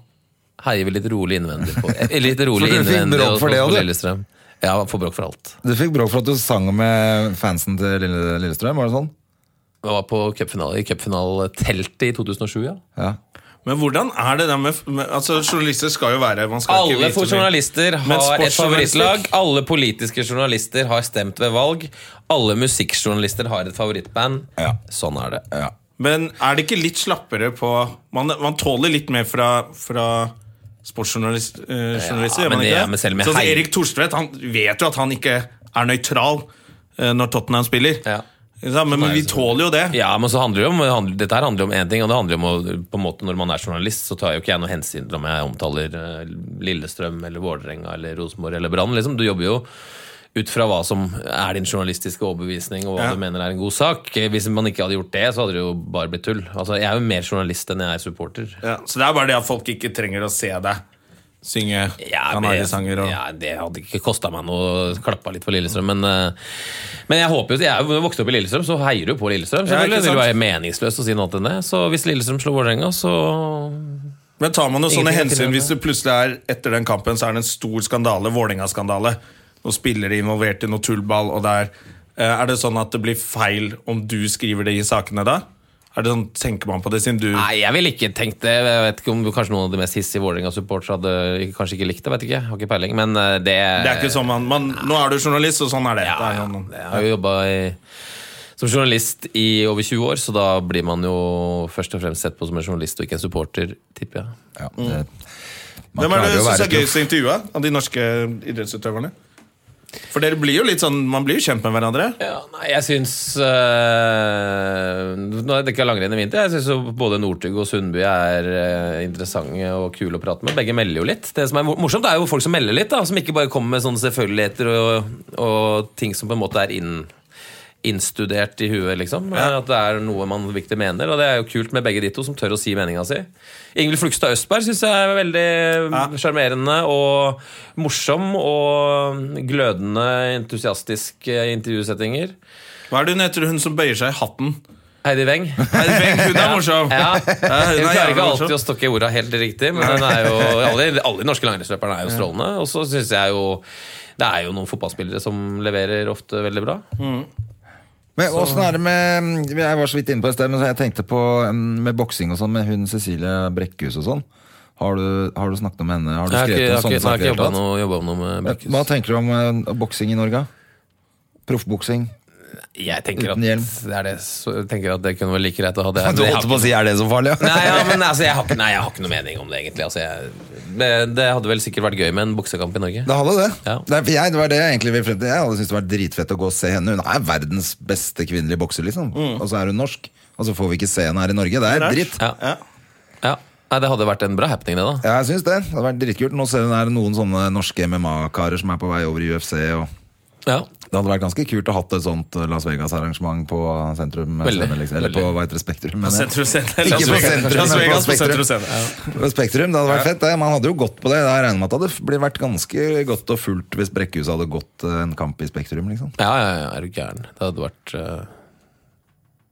heier vi litt rolig innvendig på eh, Eller litt rolig
For du fikk
innvendig
bråk
og-
for det
og-
også, du?
Lillestrøm. Ja, får bråk for alt.
Du fikk bråk for at du sang med fansen til Lille, Lillestrøm, var det sånn?
Jeg var på cupfinale i cupfinaleteltet i 2007, ja.
Ja.
Men hvordan er det der med, med Altså, journalister skal jo være man skal ikke
Alle
vite
for journalister
Men
har et
sportsjournalister-
favorittlag. Alle politiske journalister har stemt ved valg. Alle musikkjournalister har et favorittband.
Ja.
Sånn er det.
ja.
Men er det ikke litt slappere på Man, man tåler litt mer fra, fra sportsjournalister, eh, journalister,
Ja,
gjør man
men det
ikke
er med selv med
Sånn som
hei-
Erik Thorstvedt han vet jo at han ikke er nøytral eh, når Tottenham spiller.
Ja.
Ikke sant? men, men vi tåler jo det.
Ja, men så handler det om, handler, Dette her handler om én ting, og det handler om å, på en måte når man er journalist, så tar jo ikke jeg noe hensyn til om jeg omtaler eh, Lillestrøm eller Vålerenga eller Rosenborg eller Brann. Liksom. Du jobber jo ut fra hva som er din journalistiske overbevisning, og hva
Ja.
du mener er en god sak. Hvis man ikke hadde gjort det, så hadde det jo bare blitt tull. Altså, Jeg er jo mer journalist enn jeg er supporter.
Ja, så det er bare det at folk ikke trenger å se deg synge kanarisanger og
ja, det hadde ikke kosta meg noe å klappe litt for Lillestrøm, men, eh, men jeg håper jo Jeg er jo vokst opp i Lillestrøm, så heier du på Lillestrøm.
Ja,
Selvfølgelig det
ikke
vil
sant?
jo være meningsløst å si noe annet enn det. Så hvis Lillestrøm slår Vålerenga, så
Men tar man jo sånne
Ingenting å
hensyn
tilgjøre.
hvis det plutselig er etter den kampen så er det en stor skandale, Vålerenga-skandale, og spillere involvert i noe tullball, og det er Eh, Er det sånn at det blir feil om du skriver det i sakene da? Er det sånn, Tenker man på det siden du
Nei, jeg ville ikke tenkt det. Jeg vet ikke om Kanskje noen av de mest hissige Vålerenga-supportere hadde kanskje ikke likt det. Vet ikke. Jeg har ikke peiling. Men eh, det
Det er ikke sånn man, man Nå er du journalist, og sånn er det. det er
eh, Ja,
jo noen-
jeg har jo jobba som journalist i over 20 år, så da blir man jo først og fremst sett på som en journalist og ikke en supporter, tipper jeg.
ja. det- Man
Hvem er det
klarer jo å
du syns
være
er
proff.
gøyest å intervjue av de norske idrettsutøverne? For dere blir jo litt sånn Man blir jo kjent med hverandre.
Ja, nei, jeg syns øh, Nå har jeg dekka langrenn i vinter. Jeg syns jo både Northug og Sundby er øh, interessante og kule å prate med. Begge melder jo litt. Det som er mor- morsomt, er jo folk som melder litt, da. Som ikke bare kommer med sånne selvfølgeligheter og, og ting som på en måte er inn, innstudert i huet, liksom. At det er noe man virkelig mener. Og det er jo kult med begge de to, som tør å si meninga si. Ingvild Flugstad Østberg syns jeg er veldig sjarmerende og morsom og glødende entusiastisk eh, i intervjusettinger.
Hva er det hun heter, hun som bøyer seg i hatten?
Heidi Weng.
Nei, Bengt, Hun er morsom!
Ja.
hun
Hun
er
klarer
jævlig
ikke
morsom.
alltid å stokke orda helt riktig, men hun er jo, alle, alle de norske langrennsløperne er jo strålende. Og så syns jeg jo det er jo noen fotballspillere som leverer ofte veldig bra.
Men åssen er det med Jeg var så vidt inne på det i sted, men så jeg tenkte på mm, med boksing og sånn, med hun Cecilie Brekkhus og sånn. Har du, har du snakket om henne? Har du
Jeg har ikke, jeg har ikke, jeg
skrevet om sånne
har ikke
saker? i det hele
jobba
tatt?
noe, jobbet om noe med
Ja, Hva
Brekkhus.
tenker du om eh, boksing i Norge? Proffboksing?
Jeg tenker at,
Uten hjelm.
det er det, så jeg tenker at det kunne vært like greit å ha det. Men
Du
jeg har
holdt på å
ikke-
si 'er det så farlig'?
Nei, ja, men altså, jeg har ikke, nei, jeg har ikke noe mening om det, egentlig. Altså, jeg, det, det hadde vel sikkert vært gøy med en boksekamp i Norge.
Det hadde det.
Ja.
Det, er- for jeg, det var det jeg egentlig ville frem til. Jeg hadde syntes det var dritfett å gå og se henne. Hun er verdens beste kvinnelige bokser, liksom. Og så er hun norsk. Og så får vi ikke se henne her i Norge. Det er
Mm. rart.
dritt.
Ja.
Ja.
Ja. Nei, det hadde vært en bra happening, det, da.
Ja, jeg syns det. Det hadde vært dritkult. Nå ser hun her noen sånne norske MMA-karer som er på vei over i UFC. Og
Ja.
det hadde vært ganske kult å hatt et sånt Las Vegas-arrangement på sentrum.
Veldig,
Scene, liksom. Eller på
veldig.
hva heter det, Spektrum.
På
mener jeg.
Sentrum Scene.
Ikke
Las
på
Vegas.
sentrum, men
Las
på
Vegas på
Spektrum.
Sentrum Scene. Ja.
På Spektrum, Det hadde vært fett. det. Man hadde jo gått på det. Jeg regner med at det hadde blitt vært ganske godt og fullt hvis Brekkhus hadde gått eh, en kamp i Spektrum. liksom
Ja, ja, ja, er du gæren. Det hadde vært eh,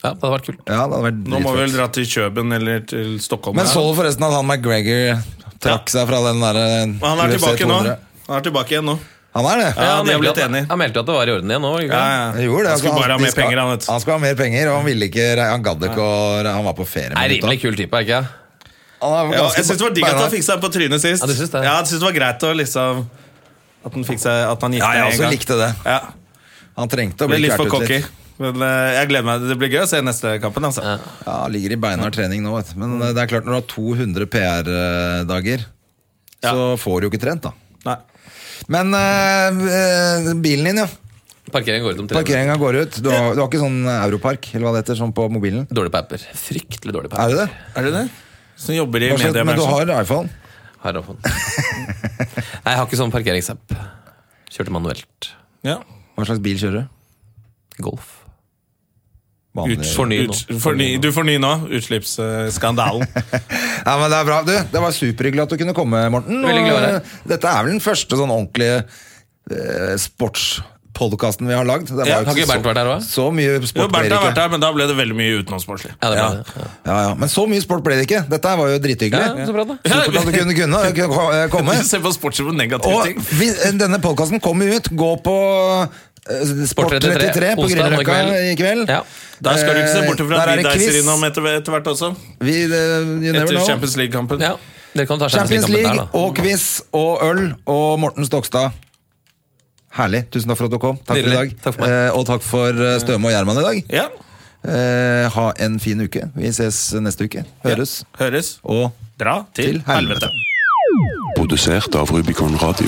Ja, det hadde vært kult.
Ja, det hadde vært
Nå må
dritfett.
vi vel dra til Kjøben eller til Stockholm.
Men
her.
så du forresten at han McGregor trakk seg fra den der eh,
Men han er
UFC
tilbake nå.
200?
Han er tilbake igjen nå.
Han er det?
Ja,
han
de har
meldte
blitt
at-
enige.
Han meldte jo at det var i orden igjen nå. Ikke?
Ja,
sant?
ja.
Han gjorde det.
Han skulle
altså,
bare ha
de
mer
skal-
penger, han, vet du.
Han skulle ha mer penger, og han ville ikke Han gadd ikke å Han var på ferie
Er
med gutta.
rimelig kul type, er ikke jeg?
Han er
Ja,
ganske
jeg syns det var digg at han
beinhard.
fikk seg på trynet sist.
Ja, du syns det?
Ja, jeg synes det var greit å liksom At han fikk seg At han gikk
Ja, jeg
ned en
også
gang.
likte det.
Ja,
Han trengte å
Ble
bli
litt for
kvært ut
cocky.
litt.
Men eh, jeg gleder meg. Det blir gøy å se neste kampen. Altså.
Ja, han ligger i beinhard trening nå, vet du. Men eh, det er klart, når du har 200 PR-dager, så får du jo ikke trent, da.
Nei.
Men eh, eh, bilen din, ja.
Parkeringen går ut om tre minutter.
Parkeringa går ut. Du har, du har ikke sånn Europark eller hva det heter, sånn på mobilen?
Dårlig på apper. Fryktelig dårlig på
Er
apper.
det det?
Er det det? Som jobber i
Hva slags- Men du
mediebransjen.
har iPhone?
Har jeg fått. Nei, jeg har ikke sånn parkeringsapp. Kjørte manuelt.
Ja.
Hva slags bil kjører du?
Golf.
Vanlig.
Forny nå.
Ut, forny, du får ny nå. Utslippsskandalen.
Ja, men Det er bra. Du, det var superhyggelig at du kunne komme, Morten. Og,
Veldig glad i deg.
eh, Dette er vel den første sånn ordentlige eh, sportspodkasten vi har lagd. Det var
Ja,
jo
har ikke
så-
Bernt vært her også?
Så mye
Jo,
sport ble
Bernt
det
har vært
ikke.
der, men da ble det veldig mye utenomsportslig.
Ja, det
Ja.
ble det.
Ja, ja. Men så mye sport ble det ikke. Dette var jo drithyggelig.
Ja, så bra da.
Supert at du kunne, kunne, kunne komme.
Se på sport som en negativ
Og
ting.
vi, eh, denne podkasten kommer ut. Gå på eh, Sport 33 på
onsdag nå i
Grünerløkka
kveld.
i kveld.
Ja.
Der skal du ikke se bort fra
Eh,
at
der er
vi
det
deiser
quiz.
innom etter, etter hvert også.
Vi, eh, you never
Etter
know.
Champions League-kampen.
Ja. Dere kan ta
Champions
Champions League
League og quiz og øl og Morten Stokstad. Herlig. Tusen takk for at du kom. Takk for i dag.
Nydelig. Takk for meg.
Eh, og takk for eh, Støme og Gjerman i dag.
Ja.
Eh, ha en fin uke. Vi ses neste uke. Høres.
Høres.
Og
Dra
Til
til,
helvete.
helvete.
Produsert av Rubicon Radio.